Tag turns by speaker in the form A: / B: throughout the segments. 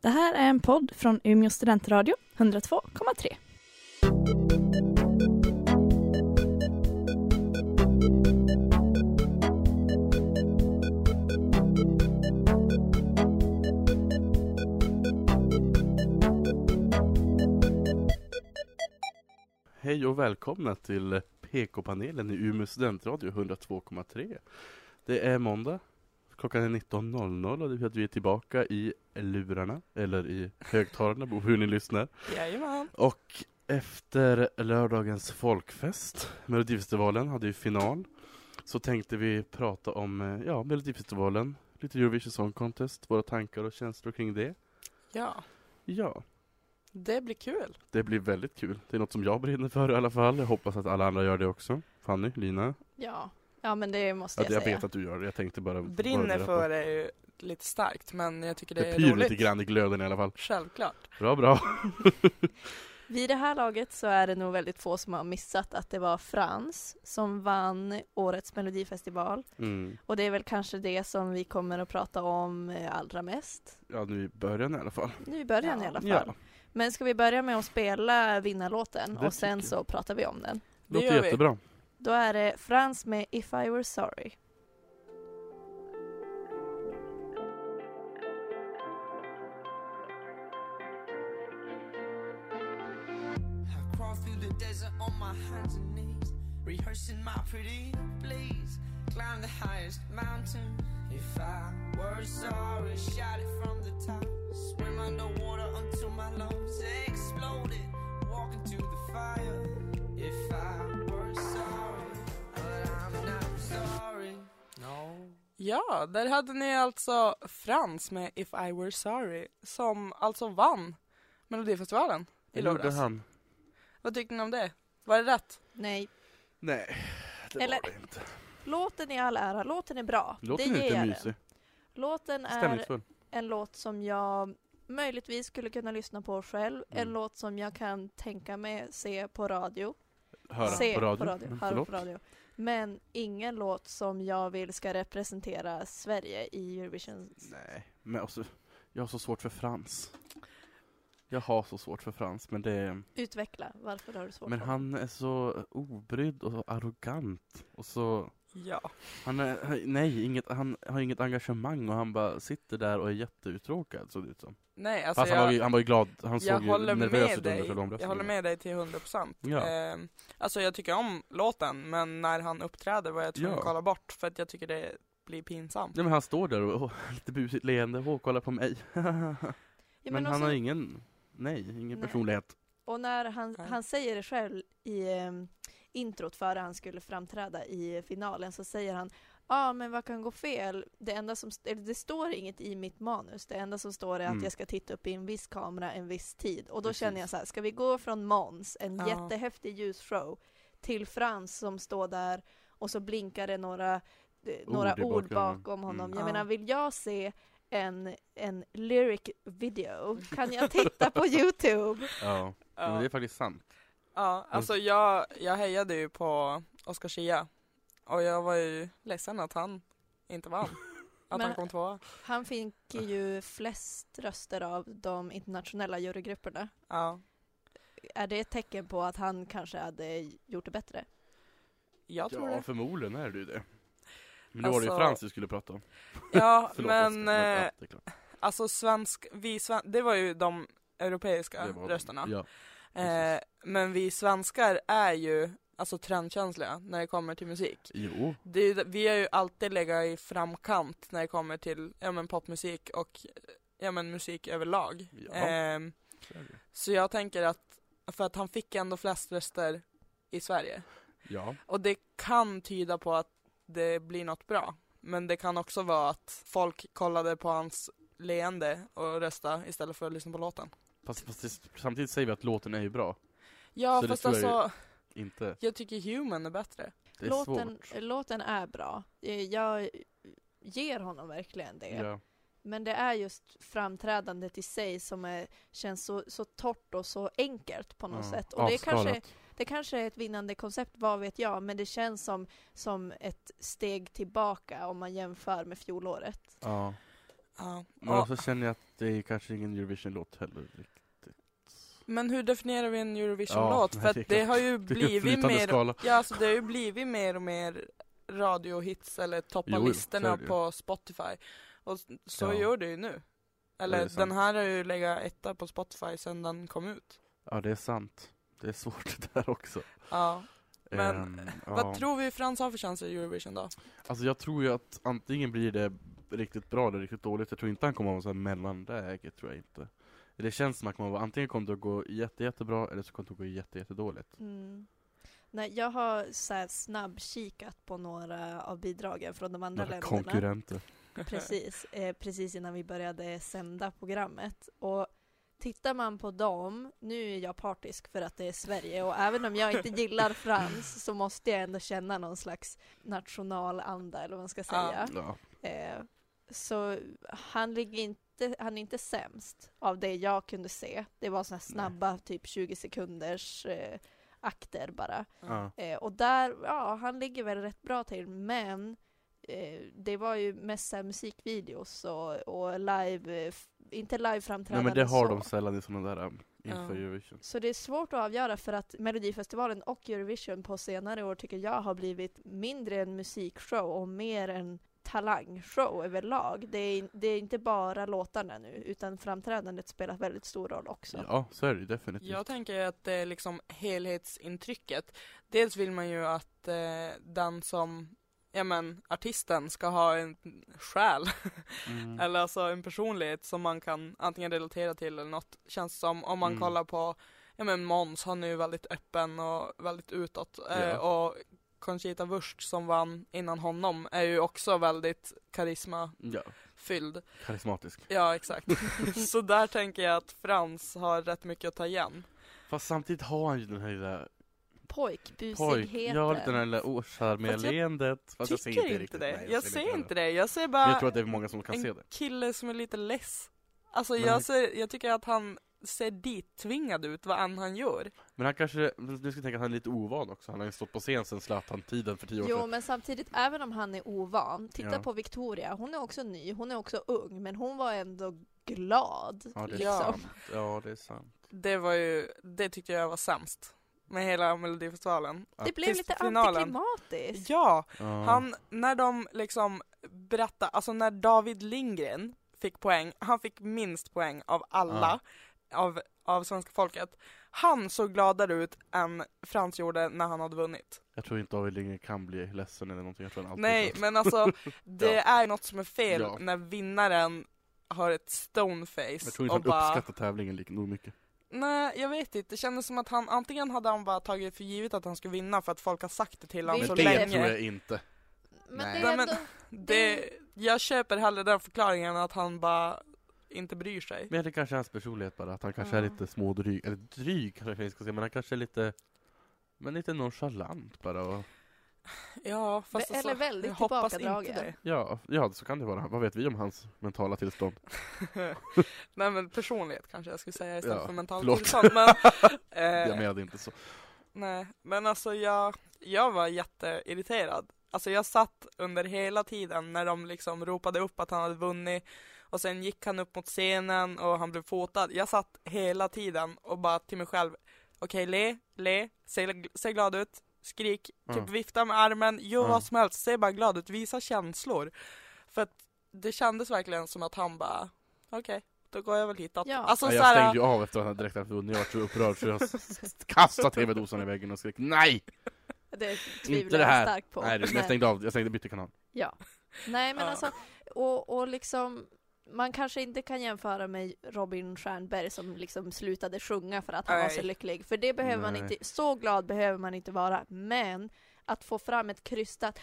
A: Det här är en podd från Umeå studentradio, 102,3.
B: Hej och välkomna till PK-panelen i Umeå studentradio 102,3. Det är måndag, klockan är 19.00 och det betyder att vi är tillbaka i lurarna, eller i högtalarna, på hur ni lyssnar.
C: Jajamän.
B: Och efter lördagens folkfest, Melodifestivalen hade ju final, så tänkte vi prata om eh, ja, Melodifestivalen, lite Eurovision Song Contest, våra tankar och känslor kring det.
C: Ja,
B: Ja,
C: det blir kul.
B: det blir väldigt kul. Det är något som jag brinner för i alla fall. Jag hoppas att alla andra gör det också. Fanny, Lina?
A: Ja, ja men det måste
B: Ja, det jag vet att du gör det. Jag tänkte bara...
C: Brinner
B: bara-
C: för är ju lite starkt, men jag tycker det,
B: Det
C: är
B: pyr
C: roligt.
B: lite grann i glöden i alla fall.
C: Självklart.
B: Bra, bra.
D: Vid det här laget så är det nog väldigt få som har missat att det var Frans som vann årets melodifestival.
B: Mm.
D: Och det är väl kanske det som vi kommer att prata om eh, allra mest.
B: Ja, nu i början i alla fall.
D: Nu i början
C: Ja.
D: i alla fall.
B: Ja,
D: Men ska vi börja med att spela vinnarlåten
B: Det
D: och sen
B: tycker jag.
D: så pratar vi om den.
B: det låter
C: gör vi.
B: jättebra.
D: Då är det Frans med If I Were Sorry.
E: I crawl through the desert on my hands and knees, rehearsing my pretty please. Climb the highest mountain. If I were sorry, shout it from the top. Swim underwater until my lungs exploded. Walk into the fire. If I were sorry, but I'm not sorry. No.
C: Ja, där hade ni alltså Frans med If I Were Sorry, som alltså vann Melodifestivalen i
B: Det gjorde
C: lördags.
B: han.
C: Vad tyckte ni om det? Var det rätt?
D: Nej,
B: Nej, det
D: Eller-
B: var det inte.
D: låten i all ära, låten är bra.
B: Låten
D: det
B: är
D: ger
B: lite
D: jag
B: mysig.
D: den. Låten är
B: Stämningsfull.
D: en låt som jag möjligtvis skulle kunna lyssna på själv.
B: Mm.
D: En låt som jag kan tänka mig se på radio.
B: Höra
D: se
B: på radio.
D: på radio,
B: Mm,
D: höra
B: förlåt.
D: på radio. Men ingen låt som jag vill ska representera Sverige i Eurovision.
B: Nej, men också, jag har så svårt för Frans. Jag har så svårt för Frans, men det är...
D: Utveckla, varför har du svårt
B: Men
D: för
B: han är så obrydd och så arrogant. Och så...
C: Ja.
B: Han, är, nej, inget, han har inget engagemang och han bara sitter där och är jätteuttråkad, såg det ut som.
C: Nej, alltså
B: Fast han, var ju, han var ju glad, han
C: jag
B: såg ju
C: håller
B: nervös
C: med
B: ut under
C: dig.
B: själva omröstningen.
C: Jag håller med dig till 100 procent.
B: Ja.
C: alltså jag tycker om låten, men när han uppträder var jag tvungen
B: Ja.
C: att kolla bort för att jag tycker det blir pinsamt.
B: Nej men han står där och, och lite busigt leende, och kolla på mig. men
D: Ja,
B: han
D: men också,
B: har ingen, nej, ingen
D: Nej.
B: personlighet.
D: Och när han,
C: Nej.
D: han säger det själv i eh, introt före han skulle framträda i finalen så säger han Ja ah, men vad kan gå fel? Det enda som, st- eller det står inget i mitt manus, det enda som står är att
B: Mm.
D: jag ska titta upp i en viss kamera en viss tid. Och då
B: Precis.
D: känner jag så här, ska vi gå från Måns, en
C: Ja.
D: jättehäftig ljusshow, till Frans som står där och så blinkar det några, eh, några
B: i
D: ord
B: bakgrunden.
D: bakom honom.
B: Mm.
D: Jag
C: Ja.
D: menar, vill jag se en, en lyric video kan jag titta på Youtube?
B: Ja,
C: Ja.
B: men det är faktiskt sant.
C: Ja, alltså jag, jag hejade ju på Oscar Schia och jag var ju ledsen att han inte vann. Att han
D: Men-
C: kom tvåa.
D: Han fick ju flest röster av de internationella jurygrupperna.
C: Ja,
D: Är det ett tecken på att han kanske hade gjort det bättre?
C: jag tror
B: ja,
C: det.
B: förmodligen är det ju det. Men det var det ju
C: Alltså-
B: Frans vi skulle prata om.
C: Ja,
B: Förlåt, Oskar,
C: men
B: men
C: eh,
B: ja, det är klart.
C: alltså svensk, vi sven, det var ju de europeiska
B: Det var-
C: rösterna.
B: Ja,
C: eh, men vi svenskar är ju alltså trendkänsliga när det kommer till musik.
B: jo.
C: Det är, ju- vi har ju alltid legat i framkant när det kommer till ja, men popmusik och ja, men musik överlag.
B: Ja.
C: Ehm,
B: så är det ju.
C: Så jag tänker att, för att han fick ändå flest röster i Sverige.
B: Ja,
C: Och det kan tyda på att det blir något bra. Men det kan också vara att folk kollade på hans leende och röstade istället för att lyssna på låten.
B: fast, fast det, samtidigt säger vi att låten är ju bra.
C: Ja
B: Så det
C: fast
B: tror jag
C: alltså,
B: ju-
C: jag,
B: Inte,
C: tycker Human är bättre.
B: det är
D: låten,
B: svårt.
D: låten är bra. Eh, Jag ger honom verkligen det.
B: Ja.
D: Men det är just framträdandet i sig som är, känns så, så torrt och så enkelt på något
B: Ja,
D: sätt. Och det kanske,
B: Mm. avskalat.
D: Det kanske är ett vinnande koncept, vad vet jag, men det känns som, som ett steg tillbaka om man jämför med fjolåret.
B: Ja.
C: Ja.
B: Men
C: Och-
B: också känner jag att Det är kanske ingen Eurovision-låt heller. riktigt.
C: Men hur definierar vi en Eurovision-låt?
B: Ja,
C: För att
B: det är
C: det
B: klart.
C: har ju
B: Det är ju
C: blivit
B: flytande
C: mer
B: skala.
C: Ja, alltså det har ju blivit mer och mer radiohits eller
B: Jo,
C: toppa
B: jo, så är
C: listorna
B: det ju.
C: på Spotify. Och s- så
B: Ja.
C: gör det ju nu.
B: Det
C: Eller
B: är sant.
C: den här har ju legat etta på Spotify sedan den kom ut.
B: Ja, det är sant. Det är svårt det där också.
C: Ja. Men,
B: Ehm, ja.
C: Vad tror vi Frans har för chanser i Eurovision då?
B: Alltså jag tror ju att antingen blir det riktigt bra eller riktigt dåligt. Jag tror inte han kommer att vara så här mellanläge, tror jag inte. Det känns som att han kommer att vara, antingen kommer det att gå jätte, jättebra eller så kommer det att gå jätte, jättedåligt.
D: Mm. Nej, jag har så här snabbkikat på några av bidragen från de andra
B: Några
D: länderna.
B: konkurrenter.
D: Precis, eh, precis innan vi började sända programmet. Och tittar man på dem, nu är jag partisk för att det är Sverige och även om jag inte gillar Frans så måste jag ändå känna någon slags nationalanda eller vad man ska
C: Ja.
D: säga.
B: Ja.
D: Eh, så han ligger inte, han är inte sämst av det jag kunde se. Det var såna här snabba, typ 20 sekunders eh, akter bara.
B: Ja.
D: Eh, och där, ja, han ligger väl rätt bra till, men eh, det var ju mest så här musikvideos och, och live, eh, f- inte
B: Nej
D: liveframträdanden
B: men det har
D: så.
B: de sällan i sådana där um, inför
C: Ja.
B: Eurovision.
D: Så det är svårt att avgöra för att Melodifestivalen och Eurovision på senare år tycker jag har blivit mindre en musikshow och mer en talangshow överlag. Det är, det är inte bara låtarna nu utan framträdandet spelar väldigt stor roll också.
B: Ja, så är det ju definitivt.
C: Jag tänker att det är liksom helhetsintrycket. Dels vill man ju att eh, den som, ja men artisten ska ha en själ.
B: Mm.
C: Eller alltså en personlighet som man kan antingen relatera till eller något. Känns som om man
B: Mm.
C: kollar på, ja men Måns han är ju väldigt öppen och väldigt utåt. Eh,
B: Ja.
C: och Conchita Wurst som vann innan honom är ju också väldigt karismafylld.
B: Ja, karismatisk.
C: Ja exakt. Så där tänker jag att Frans har rätt mycket att ta igen.
B: Fast samtidigt har han ju den här lilla pojk...
D: Pojkbusigheten.
B: Ja, lite den här lilla
C: Fast jag
B: årsarméleendet. Fast jag ser
C: Tycker inte
B: riktigt.
C: det.
B: Nej,
C: jag, ser inte,
B: det.
C: det. Jag ser
B: Men jag tror
C: bara
B: att det är många som kan
C: en
B: se det.
C: kille som är lite less. Alltså
B: Men han-
C: jag, ser, jag tycker att han ser dit tvingad ut vad än han gör.
B: Men han kanske, men nu ska jag tänka att han är lite ovan också, han har ju stått på scen sen Zlatan-tiden för tio år
D: Jo
B: sedan.
D: men samtidigt, även om han är ovan, titta
B: Ja.
D: på Victoria, hon är också ny, hon är också ung, men hon var ändå glad.
B: Ja det är
C: liksom.
B: sant. Ja det är sant.
C: Det var ju, det tyckte jag var sämst med hela melodifestivalen.
D: Det blev
C: Tills
D: lite
C: finalen.
D: antiklimatiskt.
C: Ja,
B: Ja.
C: han, när de liksom berättade, alltså när David Lindgren fick poäng, han fick minst poäng av alla av, av svenska folket. Han såg gladare ut än Frans gjorde när han hade vunnit.
B: Jag tror inte David Lindgren kan bli ledsen eller någonting, jag tror han alltid
C: Nej, men alltså det
B: Ja.
C: är något som är fel
B: Ja.
C: när vinnaren har ett stoneface
B: Jag tror inte
C: och
B: han
C: bara
B: uppskattar tävlingen lika nog mycket.
C: Nej, jag vet inte. Det kändes som att han antingen hade han bara tagit för givet att han skulle vinna för att folk har sagt det till honom
B: Men
D: Men
C: så
B: det
C: länge.
B: tror jag inte.
D: Men
B: Nej.
D: det
C: Nej,
D: är
C: men-
D: ändå,
C: Det, jag köper hellre den förklaringen än att han bara inte bryr sig.
B: Men det kanske är hans personlighet bara, att han kanske är
D: Ja.
B: lite smådryg, eller dryg kanske jag inte ska säga, men han kanske är lite men lite nonchalant bara och,
C: Ja, fast
D: eller
C: alltså,
D: väldigt
C: jag hoppas inte
D: tillbakadragen.
C: det.
B: ja, ja, så kan det vara. Vad vet vi om hans mentala tillstånd?
C: Nej men personlighet kanske jag skulle säga istället
B: Ja,
C: för mentalt
B: förlåt.
C: tillstånd. Men,
B: Jag
C: eh,
B: menade inte så.
C: nej. men alltså jag, jag var jätteirriterad. Alltså jag satt under hela tiden när de liksom ropade upp att han hade vunnit och sen gick han upp mot scenen och han blev fotad. Jag satt hela tiden och bara till mig själv, okej le, le, se, se glad ut, skrik,
B: Mm.
C: typ vifta med armen, gör
B: Mm.
C: vad som helst, se bara glad ut, visa känslor. För att det kändes verkligen som att han bara, okej, då går jag väl hitåt.
D: Ja.
C: Alltså,
B: Ja,
C: så
B: jag
C: här,
B: stängde ju av efter att han direkt hade vunnit, jag var så upprörd så jag kastade tv-dosan i väggen och skrek NEJ!
D: det
B: Inte
D: tvivlar
B: det här.
D: jag starkt på.
B: Nej, du, jag stängde av, jag stängde, bytte kanal.
D: ja. Nej men
C: Ja.
D: alltså, och, och liksom, man kanske inte kan jämföra med Robin Stjernberg som liksom slutade sjunga för att han var
C: Nej.
D: så lycklig. För det behöver man
B: Nej.
D: inte, så glad behöver man inte vara. Men, att få fram ett krystat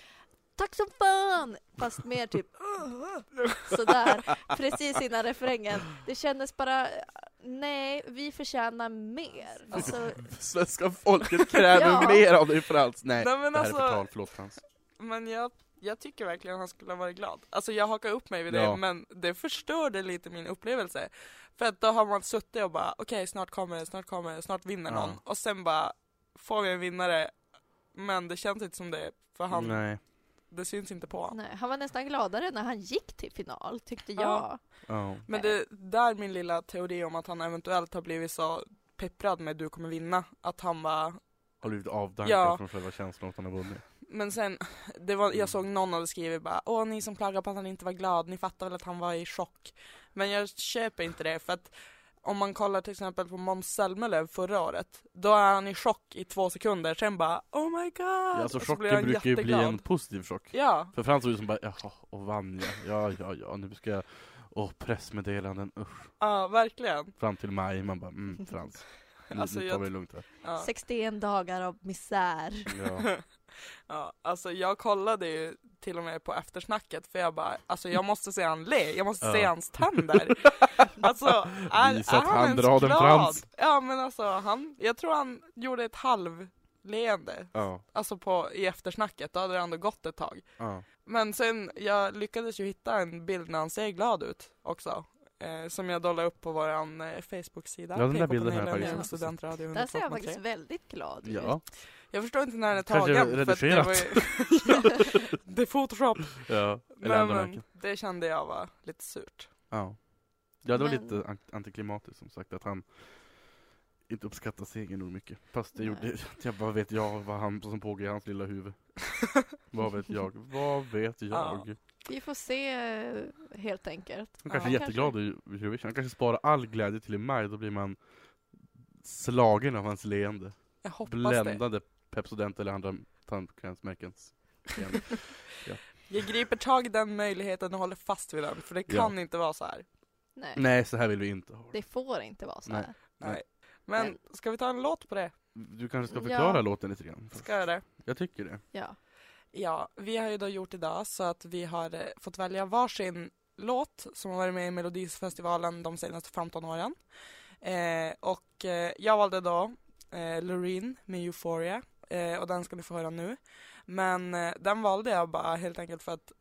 D: Tack som fan! Fast mer typ sådär, precis innan refrängen. Det kändes bara, nej, vi förtjänar mer. Alltså,
B: Svenska folket kräver
D: Ja.
B: mer av dig Frans! Nej,
C: Nej, men
B: det här
C: alltså-
B: är förtal, förlåt Frans.
C: Men jag, jag tycker verkligen att han skulle ha varit glad. Alltså jag hakar upp mig vid det,
B: Ja.
C: men det förstörde lite min upplevelse. För att då har man suttit och bara, okej snart kommer det, snart kommer det, snart vinner
B: Ja.
C: någon. Och sen bara, får vi en vinnare, men det känns inte som det, för han
B: Nej.
C: det syns inte på honom.
D: Nej, han var nästan gladare när han gick till final, tyckte jag.
C: Ja.
B: Ja.
C: Men det där är min lilla teori om att han eventuellt har blivit så pepprad med du kommer vinna, att han var
B: Har blivit avdankad
C: Ja.
B: från själva känslan att han har vunnit.
C: Men sen, det var,
B: Mm.
C: jag såg någon hade skrivit bara Åh ni som klagar på att han inte var glad, ni fattar väl att han var i chock Men jag köper inte det för att om man kollar till exempel på Måns Zelmerlöw förra året Då är han i chock i två sekunder, sen bara Oh my god!
B: Ja, alltså
C: Och så blir
B: chocken
C: han
B: brukar ju bli
C: jätteglad.
B: en positiv chock.
C: Ja,
B: För Frans var ju som bara jaha, och vann jag. Ja, ja, ja, nu ska jag... Åh, pressmeddelanden, usch.
C: ja verkligen
B: Fram till maj, man bara mm, Frans. Nu,
C: Alltså,
B: nu tar
C: jag-
B: vi det lugnt här.
C: ja.
D: 61 dagar av misär.
B: Ja.
C: ja, alltså jag kollade ju till och med på eftersnacket för jag bara, alltså jag måste se han le, jag måste
B: Ja.
C: se hans tänder. Alltså, är,
B: Visa
C: är
B: att
C: han,
B: han
C: ens
B: drar den
C: glad?
B: frans.
C: Ja men alltså han, jag tror han gjorde ett halvleende,
B: ja,
C: alltså på, i eftersnacket, då hade det ändå gått ett tag.
B: ja.
C: Men sen, jag lyckades ju hitta en bild när han ser glad ut också. Eh, som jag dollar upp på våran eh, Facebook-sida.
B: Ja, den där bilden har jag
C: PK-panelen,
B: faktiskt
C: Ung
B: också sett.
C: Studentradio
D: Där ser han faktiskt
C: 102,3.
D: väldigt glad
B: ja.
D: ut.
C: Jag förstår inte när den är
B: Kanske
C: tagen. för att
B: redigerat.
C: var ju- det är Photoshop.
B: ja. Eller
C: Men,
B: andra märken.
C: det kände jag var lite surt.
B: Ja. ja, det var
D: Men-
B: lite an- antiklimatiskt som sagt att han inte uppskattar segern nog mycket. Fast det
D: Nej.
B: gjorde, jag bara vet jag vad han som pågår i hans lilla huvud. vad vet jag? Vad vet jag?
C: Ja.
D: Vi får se eh, helt enkelt.
B: Han kanske är
D: Ja,
B: jätteglad i i Eurovision. Han kanske sparar all glädje till i maj, då blir man slagen av hans leende.
C: Jag hoppas det.
B: Bländade Pepsodent eller andra tandkrämsmärkens leende.
C: Jag griper tag i den möjligheten och håller fast vid den, för det
B: Ja.
C: kan inte vara så här.
D: Nej.
B: Nej, så här vill vi inte ha det.
D: Det får inte vara så
B: Nej.
D: här.
C: Men,
D: Men-
C: ska vi ta en låt på det?
B: Du kanske ska förklara
D: Ja.
B: låten lite grann? först.
C: Ska jag det?
B: Jag tycker det.
D: Ja.
C: Ja, vi har ju då gjort idag så att vi har eh, fått välja varsin låt som har varit med i Melodifestivalen de senaste 15 åren. Eh, och eh, jag valde då eh, Loreen med Euphoria eh, och den ska ni få höra nu. Men eh, den valde jag bara helt enkelt för att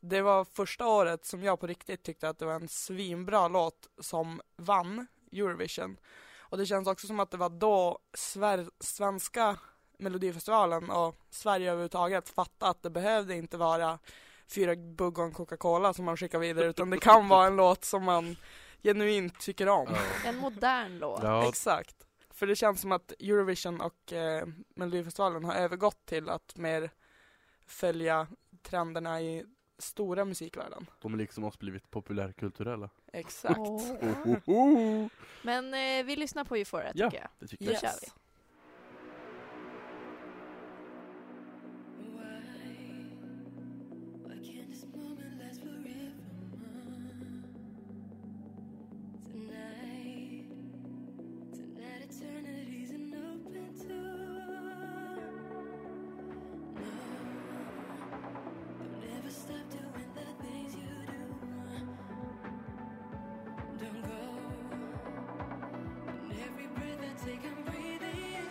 C: det var första året som jag på riktigt tyckte att det var en svinbra låt som vann Eurovision. Och det känns också som att det var då sver- svenska Melodifestivalen och Sverige överhuvudtaget fatta att det behövde inte vara fyra bugg och en Coca-Cola som man skickar vidare utan det kan vara en låt som man genuint tycker om.
D: En modern låt.
B: Ja,
C: Exakt. För det känns som att Eurovision och eh, Melodifestivalen har övergått till att mer följa trenderna i stora musikvärlden.
B: de är liksom oss blivit populärkulturella.
C: Exakt.
D: Åh.
B: Ohoho!
D: Men eh, vi lyssnar på Euphoria
B: Ja.
D: tycker jag.
B: Det tycker
D: Yes.
B: jag.
D: kör vi.
F: Why? Why can't this moment last forevermore? Tonight, tonight eternity's an open door. No, don't ever stop doing the things you do. Don't go. In every breath I take, I'm breathing in.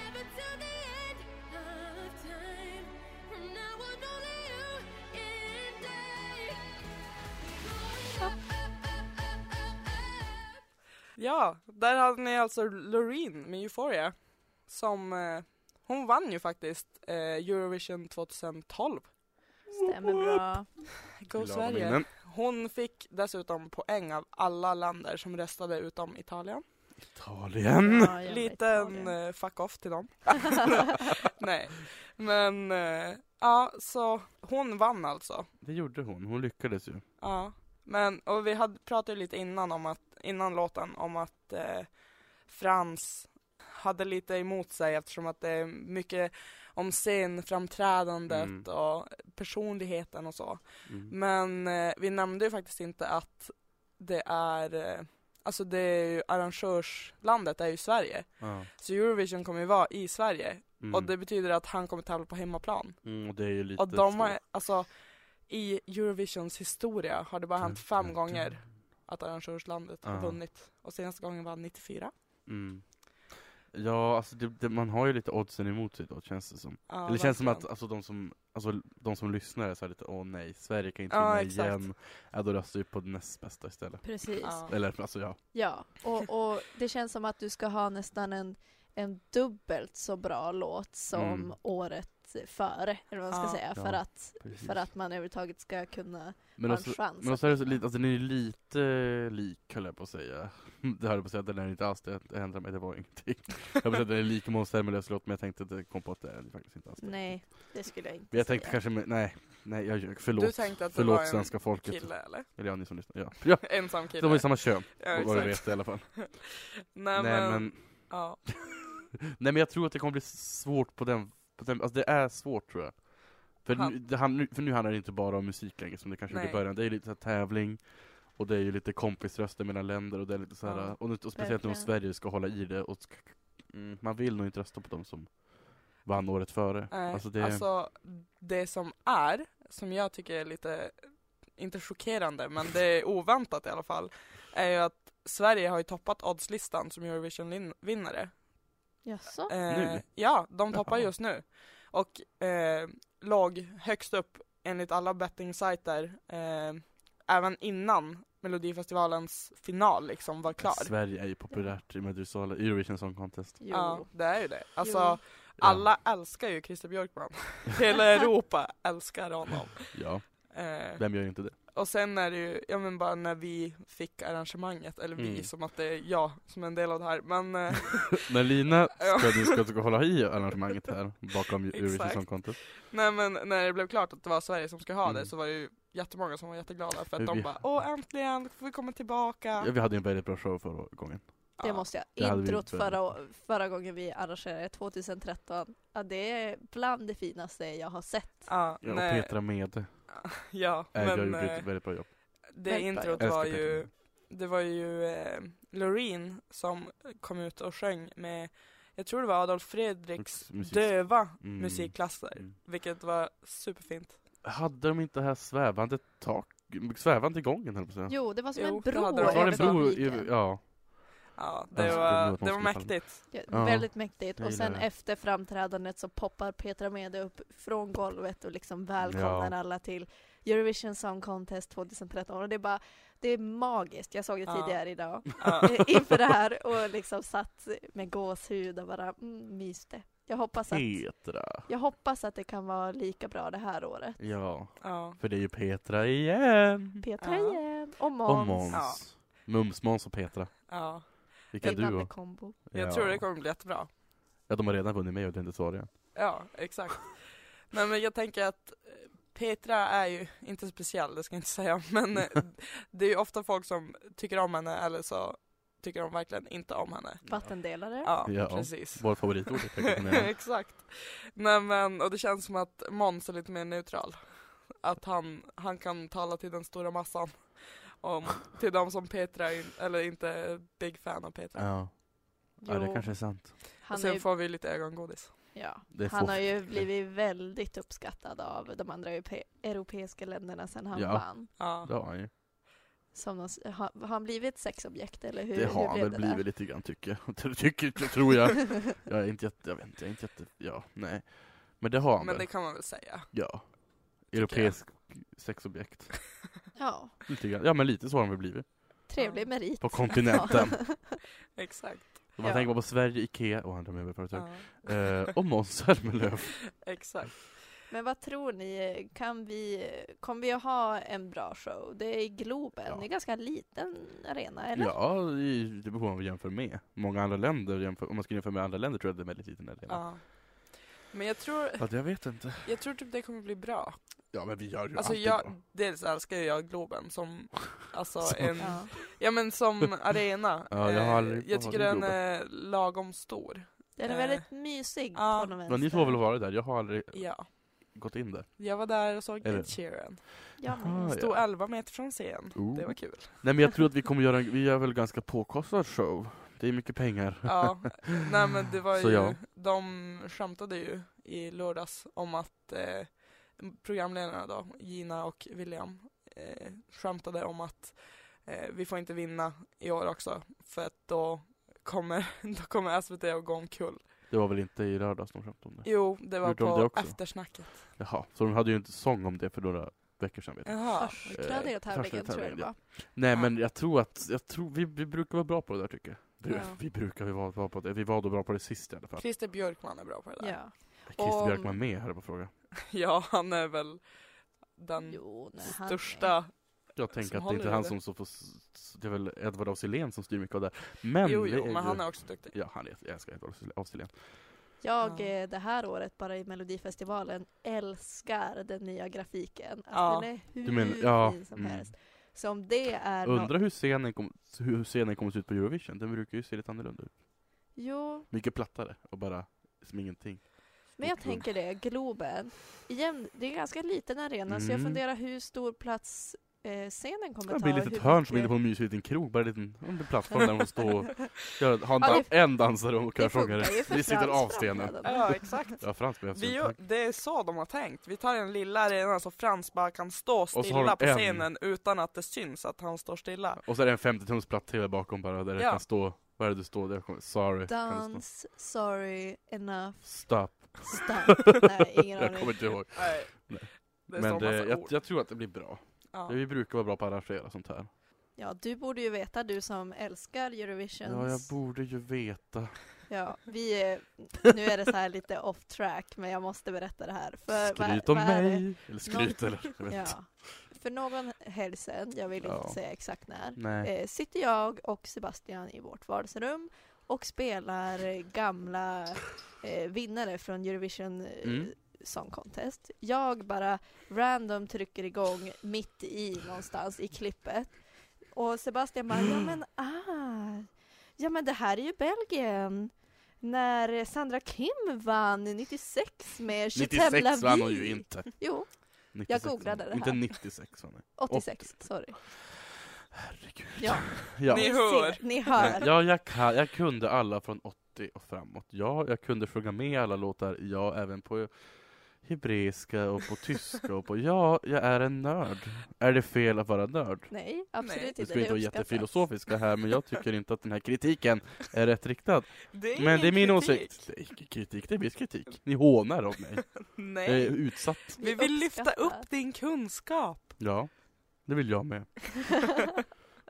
F: Forever till the end of time. From now on, only you and I. Going up, up, up, up, up.
C: Ja, där hade ni alltså Loreen med Euphoria. Som, eh, hon vann ju faktiskt eh, Eurovision 2012.
D: Stämmer bra.
C: Go
B: Glada
C: Sverige.
B: minnen.
C: Hon fick dessutom poäng av alla länder som röstade utom Italien.
B: Italien!
D: Ja, jag vet
C: Liten
D: vad
C: eh, fuck off till dem. Nej, men eh, ja, så hon vann alltså.
B: Det gjorde hon, hon lyckades ju.
C: Ja, men och vi hade pratat lite innan om att innan låten om att eh, Frans hade lite emot sig eftersom att det är mycket om scenframträdandet
B: Mm.
C: och personligheten och så.
B: Mm.
C: Men eh, vi nämnde ju faktiskt inte att det är eh, Alltså det är ju arrangörslandet är ju Sverige.
B: Ja.
C: Så Eurovision kommer ju vara i Sverige.
B: Mm.
C: Och det betyder att han kommer tävla på hemmaplan.
B: mm, och det är ju lite
C: Och de har,
B: svårt.
C: alltså i Eurovisions historia har det bara hänt fem gånger att arrangörslandet har
B: Ja.
C: vunnit. Och senaste gången var 94.
B: Mm. Ja, alltså det, det, man har ju lite oddsen emot sig då, känns det som.
C: Ja,
B: Eller det känns som att
C: verkligen.
B: alltså, de, som, alltså, de som lyssnar är så här lite åh nej, Sverige kan inte
C: Ja,
B: vinna
C: exakt.
B: igen. Ja, då röstar vi på det näst bästa istället.
D: Precis.
C: Ja.
B: Eller alltså ja.
D: Ja, och, och det känns som att du ska ha nästan en, en dubbelt så bra låt som
B: Mm.
D: året före, eller vad man ska
C: Ja.
D: säga,
B: Ja,
D: för, att,
B: precis.
D: för att man överhuvudtaget ska kunna
B: Men
D: ha en
B: också,
D: chans.
B: men
D: att
B: också är det så
D: vinna.
B: lite, alltså den är ju lite lik höll jag på att säga. Det höll jag på att säga, den är inte alls det, jag ändrar mig, det var ingenting. Jag höll på att säga att den är lik Måns Zelmerlöws låt, men jag tänkte att jag kom på att det är faktiskt inte alls det.
D: Nej, det skulle jag inte
B: alltså- Men jag tänkte
D: säga.
B: kanske, med, nej, nej jag ljög, förlåt.
C: Du tänkte att det
B: förlåt
C: var en
B: svenska folket.
C: Kille eller?
B: Eller ja, ni som lyssnar. Ja, ja
C: Ensam kille.
B: de var ju samma kön,
C: Ja,
B: vad jag
C: exakt.
B: vet i alla fall. nej,
C: Nej, men,
B: men,
C: ja.
B: nej men jag tror att det kommer bli svårt på den, på den alltså det är svårt tror jag. För,
C: Han-
B: nu, det, han, nu- för nu handlar det inte bara om musik längre som det kanske gjorde i
C: Nej.
B: början, det är ju lite så här tävling och det är ju lite kompisröster mellan länder och det är lite så här,
C: Ja,
B: och, nu- och speciellt nu om
D: verkligen.
B: Sverige ska hålla i det och sk- mm, man vill nog inte rösta på dem som vann året före.
C: Nej,
B: alltså det,
C: alltså det som är, som jag tycker är lite, inte chockerande, men det är oväntat i alla fall, är ju att Sverige har ju toppat oddslistan som Eurovision-vinnare.
D: Jaså?
C: Eh,
B: Nu?
C: Ja, de toppar
B: Jaha.
C: just nu. Och eh, låg högst upp enligt alla bettingsajter, eh, även innan Melodifestivalens final liksom var klar.
B: Sverige är ju populärt i Medusola, Eurovision Song Contest.
D: Jo.
C: Ja, det är ju det. Alltså,
D: Jo.
C: alla älskar ju Christer Björkman. Hela Europa älskar honom.
B: Ja,
C: Eh,
B: vem gör inte det?
C: Och sen är det ju, ja men bara när vi fick arrangemanget, eller vi
B: Mm.
C: som att det är jag som är en del av det här, men eh,
B: När Lina
C: Ja.
B: ska, du ska, ska hålla i arrangemanget här bakom Eurovision
C: Exakt.
B: Song Contest.
C: nej men när det blev klart att det var Sverige som skulle ha det
B: Mm.
C: så var det ju jättemånga som var jätteglada för
B: Vi-
C: att de
B: vi-
C: bara åh äntligen får vi komma tillbaka.
B: Ja, vi hade ju en väldigt bra show förra gången.
D: Det måste
B: Det
D: jag.
B: hade vi
D: Introt
B: inte
D: förra, förra gången vi arrangerade, 2013, ja, det är bland det finaste jag har sett.
C: Ja,
B: Ja, och
C: nej,
B: Petra med.
C: ja
B: Äh, jag
C: men
B: gjorde
C: eh,
B: ett väldigt bra jobb.
C: det
D: Väldigt bra
C: introt
B: Jag
C: var
B: älskar
C: ju,
B: Petra.
C: det var ju eh, Loreen som kom ut och sjöng med, jag tror det var Adolf Fredriks
B: Musik- musik-
C: döva
B: Mm.
C: musikklasser,
B: Mm.
C: vilket var superfint.
B: Hade de inte det här svävande tak, svävande gången höll jag på att säga.
D: Jo, det var som
C: Jo,
D: en
C: det
D: bro
C: hade det.
B: det var en
D: över
B: bro, i,
D: publiken.
B: ja.
C: Ja,
B: Ja,
C: det
B: så det
C: var,
B: låter
C: det var
B: måste falla.
C: mäktigt.
D: Ja,
B: Ja.
D: Väldigt mäktigt.
B: Jag
D: Och
B: gillar
D: sen
B: det.
D: efter framträdandet så poppar Petra Mede upp från golvet och liksom välkomnar
B: Ja.
D: alla till Eurovision Song Contest 2013. Och det är bara, det är magiskt. Jag såg det
C: Ja.
D: tidigare idag
C: Ja.
D: eh, inför det här och liksom satt med gåshud och bara mm, myste. Jag hoppas, att,
B: Petra.
D: jag hoppas att det kan vara lika bra det här året.
B: Ja,
C: Ja.
B: för det är ju Petra igen.
D: Petra
C: Ja.
D: igen och Måns.
B: Och Måns.
C: Ja.
B: Mums, Måns och Petra.
C: ja.
B: Vilken
D: Vinnande
B: duo.
D: kombo.
C: Jag
B: ja.
C: tror det kommer bli jättebra.
B: Ja, de har redan vunnit med och det är inte svårare.
C: Ja, exakt. Nej men jag tänker att eh, Petra är ju inte speciell, det ska jag inte säga, men eh, det är ju ofta folk som tycker om henne eller så tycker de verkligen inte om henne.
D: Vattendelare.
C: Ja,
B: Ja.
C: precis.
B: Vårt favoritord är pekatonera.
C: exakt. Nej men, och det känns som att Måns är lite mer neutral. Att han, han kan tala till den stora massan. Om, till de som Petra, är in, eller inte är big fan av Petra.
B: Ja. ja, det
D: Jo,
B: kanske är sant.
D: han
C: och
D: är
C: sen
D: ju
C: får vi lite ögongodis.
D: Ja,
B: Det
D: han
B: får-
D: har ju blivit väldigt uppskattad av de andra europe- europeiska länderna sedan han
B: Ja.
D: vann.
C: Ja.
B: Det har han ju.
D: Som de, s- har, har han blivit sexobjekt eller hur,
B: Det
D: hur
B: har han väl
D: det
B: blivit lite grann tycker jag. tycker, tror jag. Jag är inte jätte, jag vet inte, jag är inte jätte, ja, nej. Men det har han
C: Men det
B: väl?
C: kan man väl säga.
B: Ja. Europeisk sexobjekt.
D: Ja,
B: Lite grann. Ja men lite så har han väl blivit.
D: trevlig merit.
B: På kontinenten.
C: Exakt.
B: Om man
D: Ja.
B: tänker bara på Sverige, Ikea och andra möbelföretag.
C: Ja,
B: Eh, och Måns Zelmerlöw.
C: exakt.
D: Men vad tror ni, kan vi, kommer vi att ha en bra show? Det är i Globen,
B: Ja.
D: det är en ganska liten arena, eller?
B: Ja, det det beror på vad man jämför med. Många andra länder, jämför, om man skulle jämföra med andra länder tror jag det är en väldigt liten arena.
C: Ja. Men jag tror,
B: Ja, det jag vet inte.
C: jag tror typ det kommer bli bra.
B: Ja men vi gör ju
C: Alltså
B: alltid bra.
C: jag, dels älskar ju jag Globen som, alltså
B: Som-
C: en,
D: Ja.
C: ja men som arena.
B: Ja, jag har
C: Eh,
B: aldrig
C: jag
B: varit
C: tycker
B: i
C: den
B: Globen.
C: är lagom stor.
D: Den är
C: Eh.
D: väldigt mysig
C: Ja.
D: på något vänster.
B: Men ni två har väl varit där? Jag har aldrig
C: Ja.
B: gått in där.
C: Jag var där och såg
B: Är
C: Ed
B: det-
C: Sheeran.
D: Ja,
B: Jaha,
D: men,
C: Stod
B: ja.
C: 11 meter från scen.
B: Ooh.
C: Det var kul.
B: Nej men jag tror att vi kommer göra, en, vi gör väl ganska påkostad show. Det är mycket pengar.
C: Ja, nej men det var
B: Så
C: ju,
B: ja.
C: de skämtade ju i lördags om att eh, programledarna då, Gina och William, eh, skämtade om att eh, vi får inte vinna i år också för att då kommer, då kommer SVT att gå omkull.
B: Det var väl inte i lördags de skämtade om det?
C: Jo, det var
B: Gjorde de det
C: på
B: också?
C: eftersnacket.
B: Jaha, så de hade ju inte sång om det för några veckor sedan vet jag.
C: Jaha.
D: Förstkladdare
B: Eh,
D: tävlingen tror jag
B: förstkladdare,
D: det var.
B: Nej
C: Ja.
B: men jag tror att, jag tror, vi, vi brukar vara bra på det där tycker jag. Du,
D: Ja.
B: Vi brukar ju vara bra på det. Vi var då bra på det sist i alla fall.
C: Christer Björkman är bra på det där.
D: Ja.
B: Är Christer
D: Om-
B: Björkman med här på frågan?
C: Ja, han är väl den
D: Jo, nej, han är-
C: största.
B: Jag tänker att det
C: håller
B: inte
C: i
B: är han
C: det.
B: som så får, s- det är väl Edvard af Sillén som styr mycket av det här. Men
C: Jo,
B: det
C: jo,
B: är
C: men
B: ju-
C: han är också duktig.
B: Ja, han är, jag älskar Edvard af Sillén.
D: Jag
C: Ja.
D: eh, det här året bara i Melodifestivalen älskar den nya grafiken. Att
C: Ja.
D: Den är hur
B: Du menar- ja,
D: fin som
B: mm.
D: helst. Så om det är nå-
B: Undrar hur scenen, kom, hur scenen kommer se ut på Eurovision. Den brukar ju se lite annorlunda ut.
D: Jo,
B: Mycket plattare och bara som ingenting.
D: men jag
B: Och-
D: tänker det. Globen. Igen, det är en ganska liten arena så jag
B: Mm.
D: funderar hur stor plats eh, scenen kommer
B: Det
D: ta.
B: blir
D: och
B: ett litet
D: hur
B: hörn som är
D: mycket-
B: inne på en mysig liten krog. Bara en liten en liten plattform där man står och gör, har en,
D: Ja,
B: dan-
D: det-
B: en dansare och
D: Det
B: körsångare.
D: funkar ju för
B: Vi sitter
D: Frans
B: av stenen.
D: framträdande.
C: Ja, exakt.
B: Ja, Frans behövs
C: Vi,
B: ju
C: gör-
B: inte.
C: det är så de har tänkt. Vi tar en lilla arena så Frans bara kan stå
B: så har
C: stilla på
B: de en.
C: scenen utan att det syns att han står stilla.
B: Och så är det en 50-tums platt-tv bakom bara där det
C: Ja.
B: kan stå, vad är det du står där? Kom- Sorry. Kan det stå?
D: Dance, sorry, enough,
B: Stop.
D: stop. Nej, ingen
B: Jag kommer
D: aning.
B: inte ihåg.
C: Nej.
B: Nej.
C: Det
B: Men
C: står
B: det,
C: massa
B: jag,
C: ord.
B: jag tror att det blir bra.
C: Ja.
B: Vi brukar vara bra på att arrangera sånt här.
D: Ja, du borde ju veta, du som älskar Eurovision.
B: Ja, jag borde ju veta.
D: Ja, vi är, nu är det så här lite off track, men jag måste berätta det här. För vad är-
B: Skryt om
D: vad är det?
B: mig! Eller skryt
D: Någon-
B: eller, jag vet inte.
D: Ja. För någon helg sedan, jag vill
B: Ja.
D: inte säga exakt när,
B: Nej.
D: eh, sitter jag och Sebastian i vårt vardagsrum och spelar eh, gamla eh, vinnare från Eurovision eh,
B: Mm.
D: Song Contest. Jag bara random trycker igång mitt i någonstans i klippet. Och Sebastian bara, ja men ah, ja men det här är ju Belgien. När Sandra Kim vann 96 med
B: 96
D: 25 Lavie.
B: vann hon ju inte.
D: Jo,
B: 96
D: googlade det
B: Inte
D: här.
B: 96 vann hon.
D: 86, sorry.
B: Herregud.
D: Ja,
B: Ja.
C: Ni
D: ni
C: hör.
D: ser, ni
B: Nej,
D: hör.
B: ja jag, kan, jag kunde alla från 80 och framåt. Ja, jag kunde sjunga med alla låtar. Ja, även på hebreiska och på tyska och på... Ja, jag är en nörd. Är det fel att vara nörd?
D: Nej, absolut
C: Nej.
D: inte.
B: Nu ska vi inte vara
D: uppskattas.
B: jättefilosofiska här, men jag tycker inte att den här kritiken är rätt riktad.
C: Det är
B: Men det är min
C: ingen kritik.
B: åsikt. Det är ingen kritik, det är viss kritik. Ni hånar av mig. Jag är
C: Nej.
B: utsatt.
C: Vi vill lyfta
D: uppskattar.
C: upp din kunskap.
B: Ja, det vill jag med.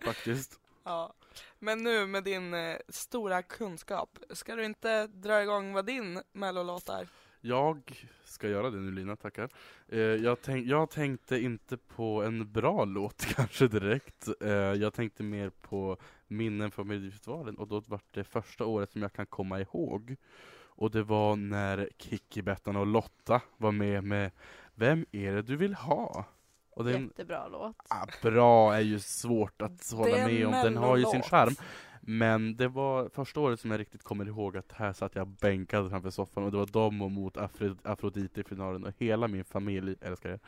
B: Faktiskt.
C: Ja. Men nu med din eh, stora kunskap, ska du inte dra igång vad din mellolåt är?
B: Jag ska göra det nu Lina, tackar. Eh, jag, tänk, jag tänkte inte på en bra låt kanske direkt. Eh, jag tänkte mer på minnen från Melodifestivalen och då var det första året som jag kan komma ihåg. Och det var när Kikki, Bettan och Lotta var med med Vem är det du vill ha? Och den,
D: Jättebra låt.
B: ah, bra är ju svårt att hålla
C: Det är en
B: med om, den har ju sin
C: mellolåt.
B: charm. Men det var första året som jag riktigt kommer ihåg att här satt jag bänkad framför soffan och det var dem och mot Afro- Afrodite i finalen och hela min familj, älskar er,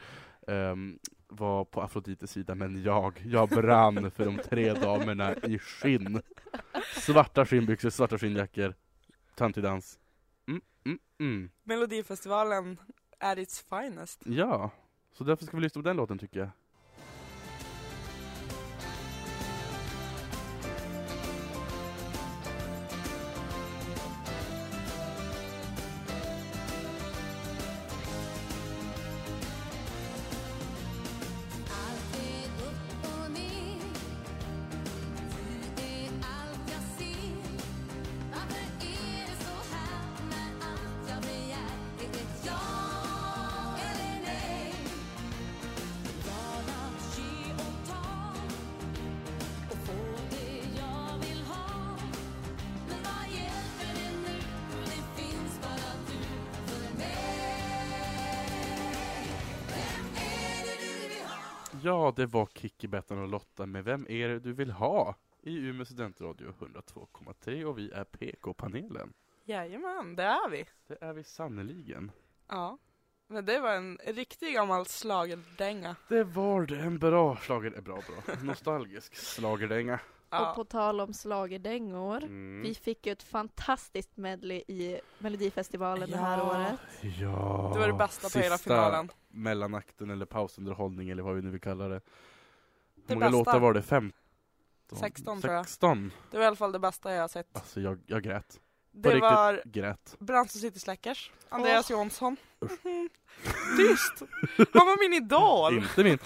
B: ehm, var på Afrodites sida men jag, jag brann för de tre damerna i skinn. Svarta skinnbyxor, svarta skinnjackor, töntig dans. Mm, mm, mm.
C: Melodifestivalen är its finest.
B: Ja, så därför ska vi lyssna på den låten tycker jag.
F: Alltid upp och ner Du är allt jag ser Varför är det så här när allt jag begär Det är ett ja eller nej Val att ge och ta Och få det jag vill ha Men vad hjälper det nu? Det finns bara du för mig Vem är det du vill ha?
B: Ja, det var Kikki, Bettan och Lotta med Vem är det du vill ha? I Umeå studentradio 102,3 och vi är PK-panelen.
C: Jajamän, det är vi.
B: Det är vi sannoliken.
C: Ja. Men det var en riktig gammal schlagerdänga.
B: Det var det, en bra slager... eh, Bra, bra. Nostalgisk slagerdänga.
C: Ja.
D: Och på tal om slagerdängor.
B: Mm.
D: Vi fick ju ett fantastiskt medley i Melodifestivalen det här
C: Ja.
D: året.
B: Ja.
C: Det var det bästa på hela
B: Sista
C: finalen.
B: mellanakten eller pausunderhållning eller vad vi nu vill kalla det.
C: Det
B: Hur många
C: bästa.
B: låtar var det? 15?
C: 16, tror jag.
B: 16.
C: Det var i alla fall det bästa jag har sett.
B: Alltså jag, jag grät. På
C: Det
B: riktigt
C: var
B: grät.
C: Brands och City Slackers, Andreas Jonsson. Mhm. Tyst! Han var min idol!
B: Inte min.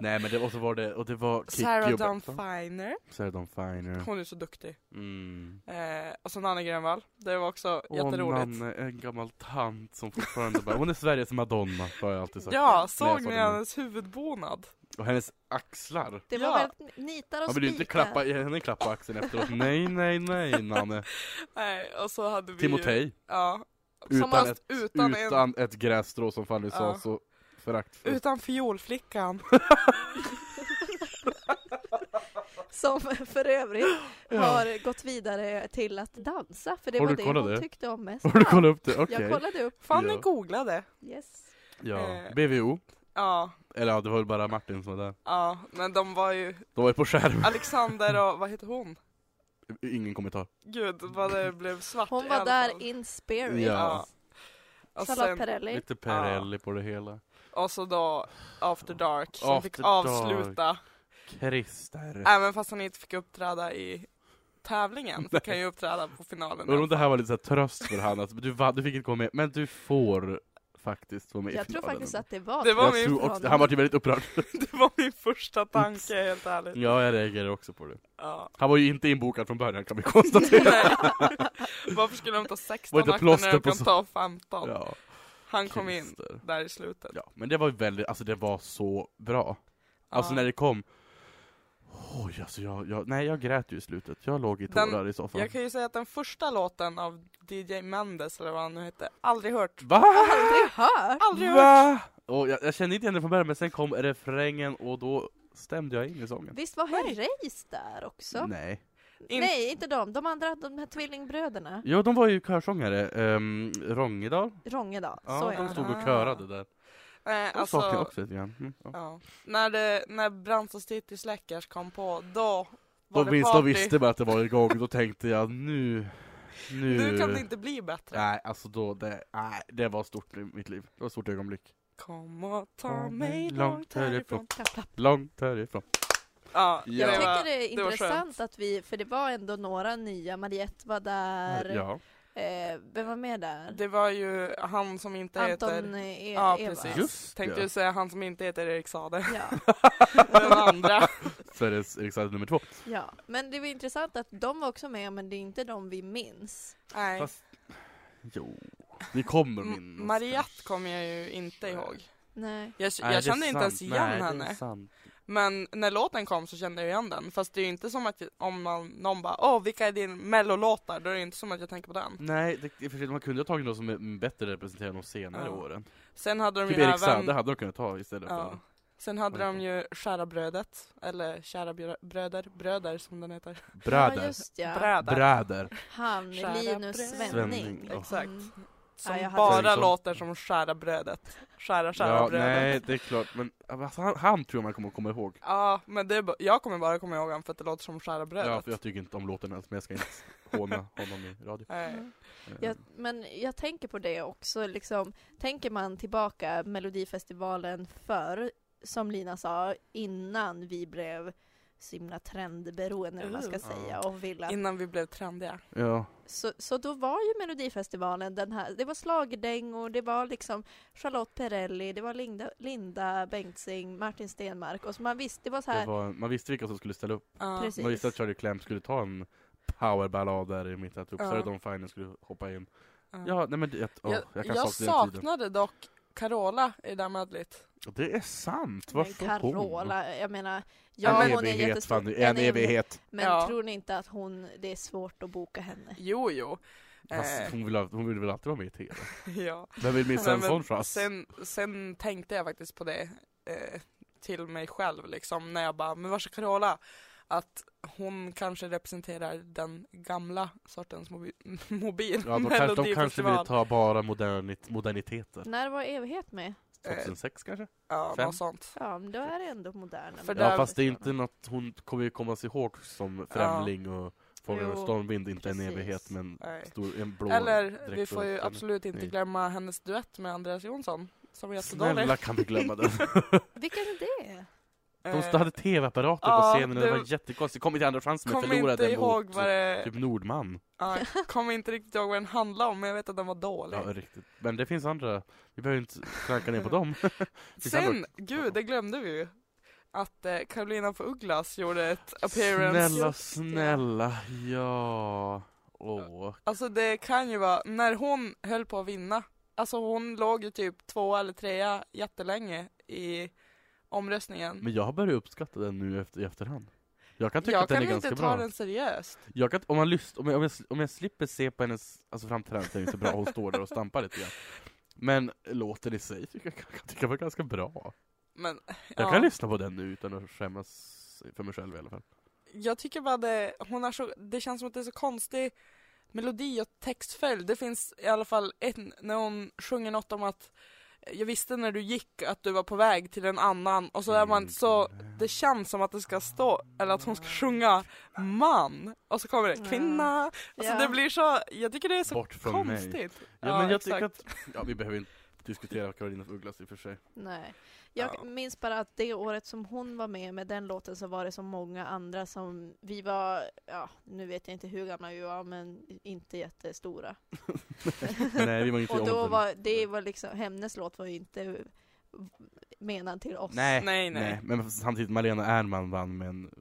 B: Nej men det, och så var det, och det var Kikki
C: Sarah
B: och
C: Dawn
B: Bettan.
C: Finer,
B: Sarah Dawn Finer.
C: hon är så duktig.
B: Mm.
C: Eh, och så Nanne Grönvall, det var också
B: Och
C: jätteroligt.
B: Nanne, en gammal tant som fortfarande bara, hon är Sveriges Madonna, har jag alltid sagt.
C: Ja,
B: jag
C: såg
B: sa
C: ni
B: det nu.
C: hennes huvudbonad?
B: Och hennes axlar.
D: Det var
C: Ja.
D: väl nitar och
B: Man vill ju inte
D: spikar.
B: klappa, ge henne en klapp på axeln efteråt. Nej, nej, nej, Nanne.
C: Nej, och så hade vi Ju,
B: Timotej.
C: ja, som
B: Utan,
C: har-
B: ett,
C: utan,
B: utan,
C: utan, en,
B: ett grässtrå som Fanny sa
C: Ja.
B: så föraktfullt.
C: utan fiolflickan.
D: Som för övrigt har gått vidare till att dansa, för det
B: Har
D: var
B: du
D: det
B: kollat
D: hon
B: det?
D: tyckte om mest.
B: Har du
D: Ja,
B: kollat upp det? Okej.
D: Jag kollade upp,
C: Fanny
B: Ja.
C: googlade.
D: yes.
B: Ja.
C: Eh.
B: BVO.
C: Ja,
B: Eller ja, det var väl bara Martin som var där.
C: ja, men de var ju
B: De var ju på skärm.
C: Ah. Alexander och vad heter hon?
B: Ingen kommentar.
C: Gud vad det blev svart
D: Hon
C: i
D: var
C: alla
D: där
C: fall.
D: in spirit.
B: Ja.
C: Och,
D: Charlotte
C: sen,
D: Perrelli.
B: Lite
C: Ah.
B: Perrelli på det hela.
C: och så då After Dark som
B: After
C: fick avsluta.
B: Christer.
C: Även fast han inte fick uppträda i tävlingen
B: Nej.
C: kan ju uppträda på finalen.
B: Undrar om det här var lite så här tröst för han, att du, vann- du fick inte komma med, men du får faktiskt vara med i
D: Jag tror
B: finalen.
D: faktiskt att det var
C: Det var
B: Jag
C: min
B: tror också,
D: förvåning.
B: han var ju väldigt upprörd.
C: Det var min första tanke helt ärligt.
B: Ja, jag reagerar också på det.
C: Ja.
B: Han var ju inte inbokad från början kan vi konstatera.
C: Nej. Varför skulle de ta 16
B: Var det
C: akter
B: plåster
C: när de
B: på
C: kan
B: så-
C: ta 15?
B: Ja,
C: Han kom in
B: Christer.
C: där i slutet.
B: Ja, men det var ju väldigt, alltså det var så bra. Alltså
C: Ja.
B: när det kom, oj alltså jag, jag, nej jag grät ju i slutet. Jag låg i
C: Den-
B: tårar i soffan.
C: Jag kan ju säga att den första låten av DJ Mendes eller vad han nu hette, aldrig hört. Mm.
B: Va?
D: Aldrig hört!
C: Aldrig hört!
B: Va? Och jag, jag kände inte igen det från början, men sen kom refrängen och då stämde jag in i sången.
D: Visst var
C: Nej.
D: Herreys där också?
B: Nej.
C: In-
D: Nej, inte de. De andra, de här tvillingbröderna.
B: Jo, de var ju körsångare. Um, Rongedal.
D: Rongedal, så
B: Ja,
D: ja.
B: de stod och
C: Ah.
B: körade där.
C: Nej,
B: De saknar jag
C: alltså,
B: också lite grann. Mm, ja.
C: ja. när, det, när Brants och City Släckers kom på, då
B: De
C: var det
B: visste,
C: party.
B: de visste bara att det var igång, då tänkte jag nu... Nu,
C: Nu kan det inte bli bättre.
B: Nej, alltså då, det, nej, det var stort i mitt liv. Det var ett stort ögonblick.
C: Kom och ta mig långt härifrån.
D: Klapp, klapp.
B: Långt härifrån.
C: Ja,
B: Ja.
D: Jag
C: det var-
D: tycker det är
C: det var
D: intressant att vi, för det var ändå några nya, Mariette var där,
B: Ja.
D: eh, vem var med där?
C: det var ju han som inte
D: Anton
C: heter...
D: e
C: Ja,
D: Eva.
C: precis.
B: Just
C: Tänkte
B: det.
C: ju säga han som inte heter Erik Saade.
D: Ja,
C: Den andra.
B: Sveriges riksdag nummer två.
D: ja, men det var intressant att de var också med, men det är inte de vi minns.
C: Nej.
B: Fast- Jo. Vi kommer
C: M-
B: minnas.
C: Mariette
B: kanske.
C: kommer jag ju inte ihåg.
D: Nej.
C: Jag,
B: Nej, det är
C: jag kände inte
B: sant.
C: ens igen
B: Nej, Det är
C: henne.
B: sant.
C: Men när låten kom så kände jag igen den. Fast det är ju inte som att jag- om man, någon bara åh vilka är din mellolåtar? Då är det inte som att jag tänker på den.
B: Nej, det, i och för sig, man kunde ha tagit någon som är bättre representerad de senare
C: Ja.
B: åren.
C: Sen hade de
B: Typ
C: ju
B: Erik Saade
C: även
B: hade de kunnat ta istället
C: Ja.
B: för...
C: Sen hade
B: Oj,
C: de ju Kära brödet, eller Kära brö- bröder, bröder som den heter.
B: Bröder.
D: Ja, just ja.
C: Bröder.
B: Bröder.
D: Han,
C: Kära
D: Linus
C: bröder.
D: Svenning.
B: Svenning, ja.
C: Exakt.
D: Mm.
C: Som
D: Ja, jag hade-
C: bara
B: Liksom.
C: låter som Kära brödet. Kära kära
B: Ja,
C: brödet.
B: nej, det är klart. Men alltså, han, han tror jag man kommer att komma ihåg.
C: Ja, men det är, ba- jag kommer bara komma ihåg honom för att det låter som Kära
B: Ja,
C: brödet.
B: för jag tycker inte om låten ens, men jag ska inte håna honom i radio. Eh,
C: Nej.
D: Mm.
B: typ.
D: Jag, men jag tänker på det också, liksom, tänker man tillbaka Melodifestivalen förr, som Lina sa, innan vi blev så himla trendberoende, eller vad man ska
B: Mm.
D: säga, och ville att
C: Innan vi blev trendiga.
B: Ja.
D: Så, så då var ju Melodifestivalen den här, det var slagdängor, det var liksom Charlotte Perrelli, det var Linda, Linda Bengtzing, Martin Stenmark och så man visste, det var så
B: Det
D: här,
B: var, man visste vilka som skulle ställa upp.
C: Ja.
D: Precis.
B: Man visste att Shirley Clamp skulle ta en powerballad där i mitten, att
C: Ja.
B: Uppsala Dawn Finer skulle hoppa in.
C: Ja.
B: Ja, nej men det, åh,
C: jag
B: jag, kan
C: jag
B: sakna den tiden.
C: saknade dock Carola i det här medlet.
B: Det är sant!
D: men
B: Varför hon?
D: Carola, jag menar,
B: Ja,
D: ja
B: en
D: hon är
B: evighet,
D: jättestor,
B: Fanny, en evighet!
D: men
C: Ja.
D: tror ni inte att hon, det är svårt att boka henne?
C: Jo, jo. Eh.
B: Fast hon vill, hon vill väl alltid vara med i TV?
C: ja.
B: Vem vill missa en
C: Nej, men
B: sån fras?
C: sen, sen tänkte jag faktiskt på det eh, till mig själv liksom när jag bara, men var är Carola? Att hon kanske representerar den gamla sortens mobi mobil
B: Ja, de, kanske, de kanske vill
C: melodifestival.
B: ta bara modernit, moderniteter.
D: När var evighet med?
C: Eh,
B: 2006 kanske?
C: Ja,
B: Fem.
C: något sånt.
D: Ja, men då är det ändå moderna.
C: För
B: Ja
C: där-
B: fast det är inte något, hon kommer ju komma sig ihåg som främling och Fåglar och
D: Jo,
B: stormvind, inte en
D: precis.
B: evighet men
C: Nej.
B: stor, en blå
C: Eller,
B: dräkt
C: vi
B: och
C: får ju
B: en-
C: absolut inte
B: Nej.
C: glömma hennes duett med Andreas Jonsson, som var jättedålig.
B: Snälla kan vi glömma den?
D: Vilken är det?
B: De
C: Eh,
B: hade tv-apparater
C: ja,
B: på scenen och det
C: det-
B: var jättekonstigt. Kom inte andra chansen men
C: Kommer inte
B: förlorade
C: ihåg
B: mot
C: vad det...
B: typ Nordman.
C: Ja, kommer inte riktigt ihåg vad den handlade om, men jag vet att den var dålig.
B: Ja, riktigt. Men det finns andra. Vi behöver inte klanka ner på dem. finns
C: Sen,
B: andra-
C: gud, det glömde vi ju. Att eh, Carolina af Ugglas gjorde ett appearance.
B: Snälla,
D: Just det.
B: snälla, ja. Åh,
C: Alltså det kan ju vara, när hon höll på att vinna, alltså hon låg ju typ två eller trea jättelänge i omröstningen.
B: Men jag har börjat uppskatta den nu efter, i efterhand. Jag kan tycka
C: jag
B: att den
C: kan
B: är
C: inte
B: ganska
C: ta
B: bra.
C: den seriöst.
B: Jag kan, om, man lyssn, om, jag, om, jag, om jag slipper se på hennes alltså framträdande så är det så bra, hon står där och stampar lite grann. Men låten i sig tycker jag kan tycka var ganska bra.
C: Men eh,
B: Jag
C: ja.
B: kan lyssna på den nu utan att skämmas för mig själv i alla fall.
C: jag tycker bara det, hon har så, det känns som att det är så konstig melodi och textföljd. Det finns i alla fall en, när hon sjunger något om att jag visste när du gick att du var på väg till en annan och så är
B: Mm.
C: man så, det känns som att det ska stå, eller att hon ska sjunga man och så kommer det kvinna. Alltså
D: Ja.
C: det blir så, jag tycker det är så
B: Bort från
C: konstigt.
B: mig. Ja, men jag tycker
C: exakt.
B: att, ja, vi behöver inte diskutera Karolina af Ugglas i och för sig.
D: Nej. Jag
C: Ja.
D: minns bara att det året som hon var med med den låten så var det så många andra som vi var, ja nu vet jag inte hur gamla vi var men inte jättestora.
B: Nej, vi var inte i
D: Och då
B: åldern.
D: var det var liksom, hennes låt var ju inte menad till oss.
B: Nej,
C: Nej,
B: nej,
C: nej.
B: nej. men samtidigt Malena Ernman vann med en uh,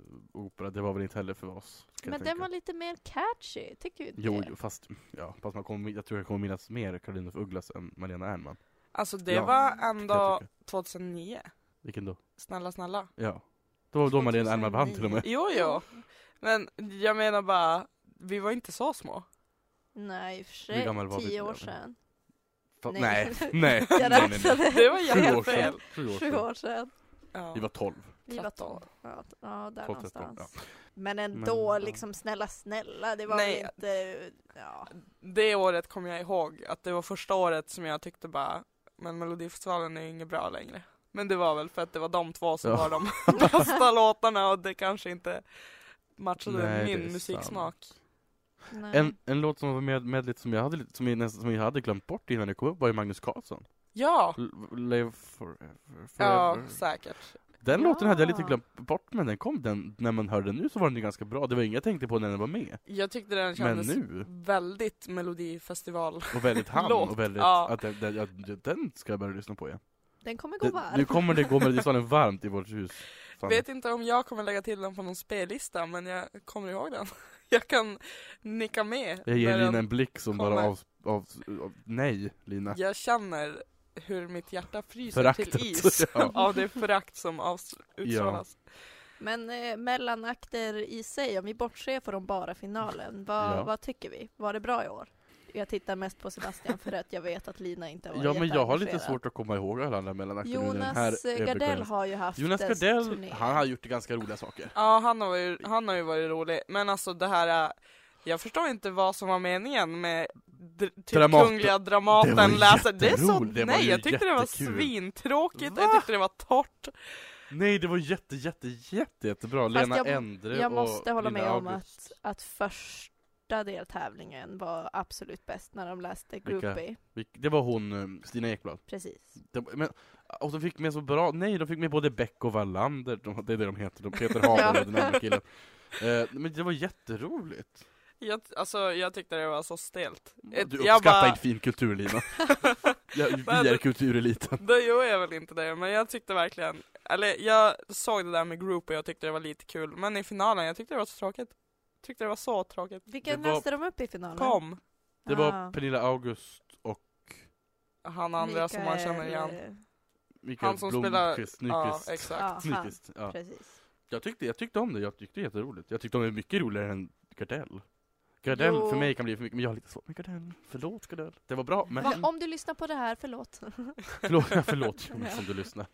B: opera, det var väl inte heller för oss. kan jag
D: Men den
B: tänka.
D: var lite mer catchy, tycker du inte
B: Jo,
D: det?
B: jo, fast, ja, fast man kommer, jag tror jag kommer minnas mer Karolina af Ugglas än Malena Ernman. kan
C: Alltså det
B: Ja,
C: var
B: jag
C: ändå
B: tycka.
C: 2009,
B: Vilken då?
C: snälla snälla.
B: Ja. Det var då Malena Ernman vann till och med.
C: Jo, jo. Men jag menar bara, vi var inte så små.
D: Nej, i och för
B: Hur
D: sig.
B: gammal var vi
D: Tio
B: då?
D: år sedan.
B: Fa-
D: Nej.
B: nej, nej.
D: Jag
B: nej, nej, nej.
D: räknade.
C: Det var
B: Sju
C: jävla
B: år sedan.
C: fel.
B: Sju år
D: Sju
B: sedan.
D: år sedan.
C: Ja.
B: Vi var tolv.
D: Vi var
C: Tretton.
D: tolv. Ja, t- ja där
B: tolv tretton.
D: någonstans.
B: Ja.
D: Men ändå,
B: Men, ja.
D: liksom snälla, snälla, det var
C: Nej.
D: väl inte... Ja.
C: Det året kommer jag ihåg, att det var första året som jag tyckte bara, men Melodifestivalen är ju inget bra längre. Men det var väl för att det var de två som
B: Ja.
C: var de bästa låtarna och det kanske inte matchade
B: Nej, det
C: min
B: är
C: musiksmak.
D: Nej.
B: En, en låt som var med, med lite som jag hade, lite- som jag, nästan, som jag hade glömt bort innan jag kom upp var ju Magnus Carlsson.
C: Ja,
B: L- Live forever,
C: ja
B: forever.
C: säkert.
B: Den
D: Ja.
B: låten hade jag lite glömt bort, men den kom, den, när man hörde den nu så var den ju ganska bra. Det var inget jag tänkte på när den var med.
C: Jag tyckte den
B: Men
C: kändes
B: nu,
C: väldigt melodifestival.
B: och väldigt han,
C: Låt,
B: och väldigt,
C: ja.
B: att den, den, ja, den ska jag börja lyssna på igen.
D: Den kommer gå
B: Det,
D: varm.
B: nu kommer det gå Melodifestivalen varmt i vårt hus. Fan.
C: Vet inte om jag kommer lägga till den på någon spellista, men jag kommer ihåg den. Jag kan nicka med.
B: Jag ger
C: när
B: Lina
C: den-
B: en blick som bara
C: kommer.
B: av, av, av nej, Lina.
C: Jag känner hur mitt hjärta fryser
B: Föraktet.
C: till is
B: Ja.
C: av det förakt som avs- utstrålas.
D: Men eh, mellanakter i sig, om vi bortser från bara finalen, vad,
B: Ja.
D: vad tycker vi? Var det bra i år? Jag tittar mest på Sebastian för att jag vet att Lina inte har varit
B: Ja, men jag har lite
D: jätteengagerad.
B: svårt att komma ihåg alla andra mellanakter nu när den
D: Jonas eh,
B: här är
D: Gardell
B: begränsad.
D: har ju haft
B: Jonas
D: en
B: Gardell,
D: turné.
B: han har gjort ganska roliga saker.
C: Ja, han har, ju, han har ju varit rolig. Men alltså det här, eh, jag förstår inte vad som var meningen med dr- typ
B: Dramat-
C: Kungliga
B: Det var
C: Dramaten
B: ju
C: läser. Det är så,
B: jätteroligt, det var
C: nej
B: ju
C: jag tyckte det var
B: jättekul.
C: svintråkigt, jag tyckte det var torrt.
B: Nej, det var jätte, jätte, jätte, jättebra.
D: Fast
B: Lena
D: jag-
B: Endre
D: jag
B: och
D: måste hålla
B: Lina
D: med om
B: August.
D: Att första deltävlingen var absolut bäst när de läste
B: Vilka?
D: groupie.
B: Vilk- Det var hon, eh, Stina Ekblad.
D: Precis.
B: Det var- Men, och de fick med så bra, nej de fick med både Beck och Wallander, de, det är det de heter, de Peter Haber och den andra killen. Eh, men det var jätteroligt.
C: Jag, alltså jag tyckte det var så stelt.
B: Du
C: Ett-
B: uppskattar inte finkultur Lina. Ja, vi är kultureliten.
C: Då gjorde jag väl inte det, men jag tyckte verkligen, eller jag såg det där med group och jag tyckte det var lite kul, men i finalen, jag tyckte det var så tråkigt. tyckte det var så tråkigt.
D: Vilken
B: Det var-
D: läste de upp i finalen?
C: Kom,
B: Det
D: Ah.
B: var Pernilla August och
C: han andra som man känner igen.
D: Mikael- eh,
B: Mikael
C: Han som
B: Blomqvist,
C: Ja,
B: Nyqvist.
C: exakt.
D: Ja, han.
B: Nyqvist, ja.
D: Precis.
B: Jag, tyckte, jag tyckte om det, jag tyckte det var jätteroligt. Jag tyckte om det mycket roligare än Gardell. Gardell
D: Jo.
B: för mig kan bli för mycket, men jag har lite svårt med Gardell. Förlåt Gardell. Det var bra, men
D: Va, om du lyssnar på det här, förlåt.
B: förlåt, förlåt Jonas om du lyssnar.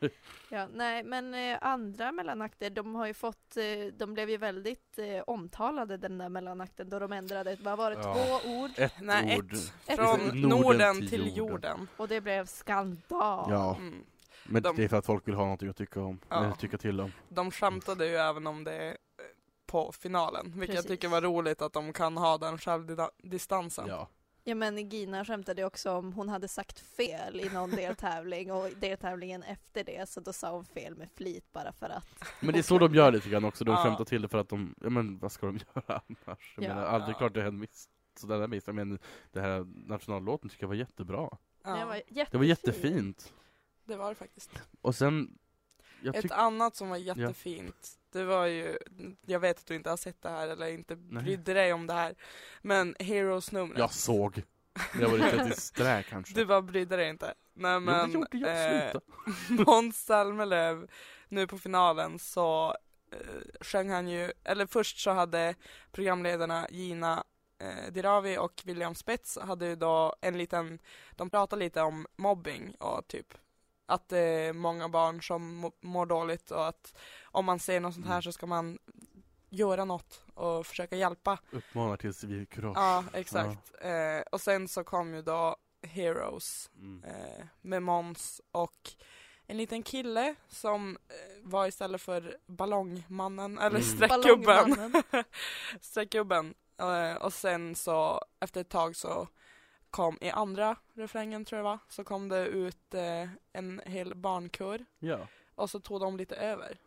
D: ja, nej, men eh, andra mellanakter, de har ju fått, eh, de blev ju väldigt eh, omtalade den där mellanakten då de ändrade, vad var det,
B: Ja.
D: två ord?
B: Ett
C: Nej,
B: ord.
C: ett.
D: Ett
C: Från
D: ord.
C: Norden,
B: Norden
C: till
B: till
C: jorden.
D: Och det blev skandal.
B: Ja,
C: Mm.
B: men
C: De-
B: det är för att folk vill ha någonting att tycka om,
C: Ja.
B: eller tycka till om.
C: De skämtade ju även om det eh, på finalen, vilket jag
D: Precis.
C: tycker var roligt att de kan ha den självdistansen.
B: Ja.
D: Ja men Gina skämtade ju också om hon hade sagt fel i någon deltävling och deltävlingen efter det så då sa hon fel med flit bara för att.
B: Men det är så de gör lite grann också, de
C: Ja.
B: skämtar till det för att de, ja men vad ska de göra annars? Jag
D: Ja.
B: menar, aldrig
C: Ja.
B: klart det här miss, sådär där miss, men det här nationallåten tycker jag var jättebra.
C: Ja,
D: Den var
B: Det var
D: jättefin.
B: jättefint.
C: det var det faktiskt.
B: Och sen, jag
C: Ett
B: tycker,
C: annat som var jättefint, det var ju, jag vet att du inte har sett det här eller inte
B: Nej.
C: brydde dig om det här, men Heroes-numret.
B: jag såg. Men jag var lite i strä kanske.
C: Du bara brydde dig inte. Nej
B: Jo, det
C: men,
B: gjorde jag,
C: eh,
B: sluta.
C: Måns Zelmerlöw, nu på finalen så eh, sjöng han ju, eller först så hade programledarna Gina eh, Dirawi och William Spets hade ju då en liten, de pratade lite om mobbing och typ att det är många barn som mo- mår dåligt och att om man ser något sånt här
B: Mm.
C: så ska man göra något och försöka hjälpa.
B: Uppmanar till civilkurage.
C: Ja, exakt. Eh, och sen så kom ju då Heroes
B: Mm.
C: eh, med Måns och en liten kille som eh, var istället för ballongmannen, eller
B: Mm.
C: streckgubben.
D: Ballongmannen.
C: streckgubben. Eh, och sen så efter ett tag så kom i andra refrängen tror jag va, så kom det ut eh, en hel barnkör
B: Ja.
C: och så tog de lite över.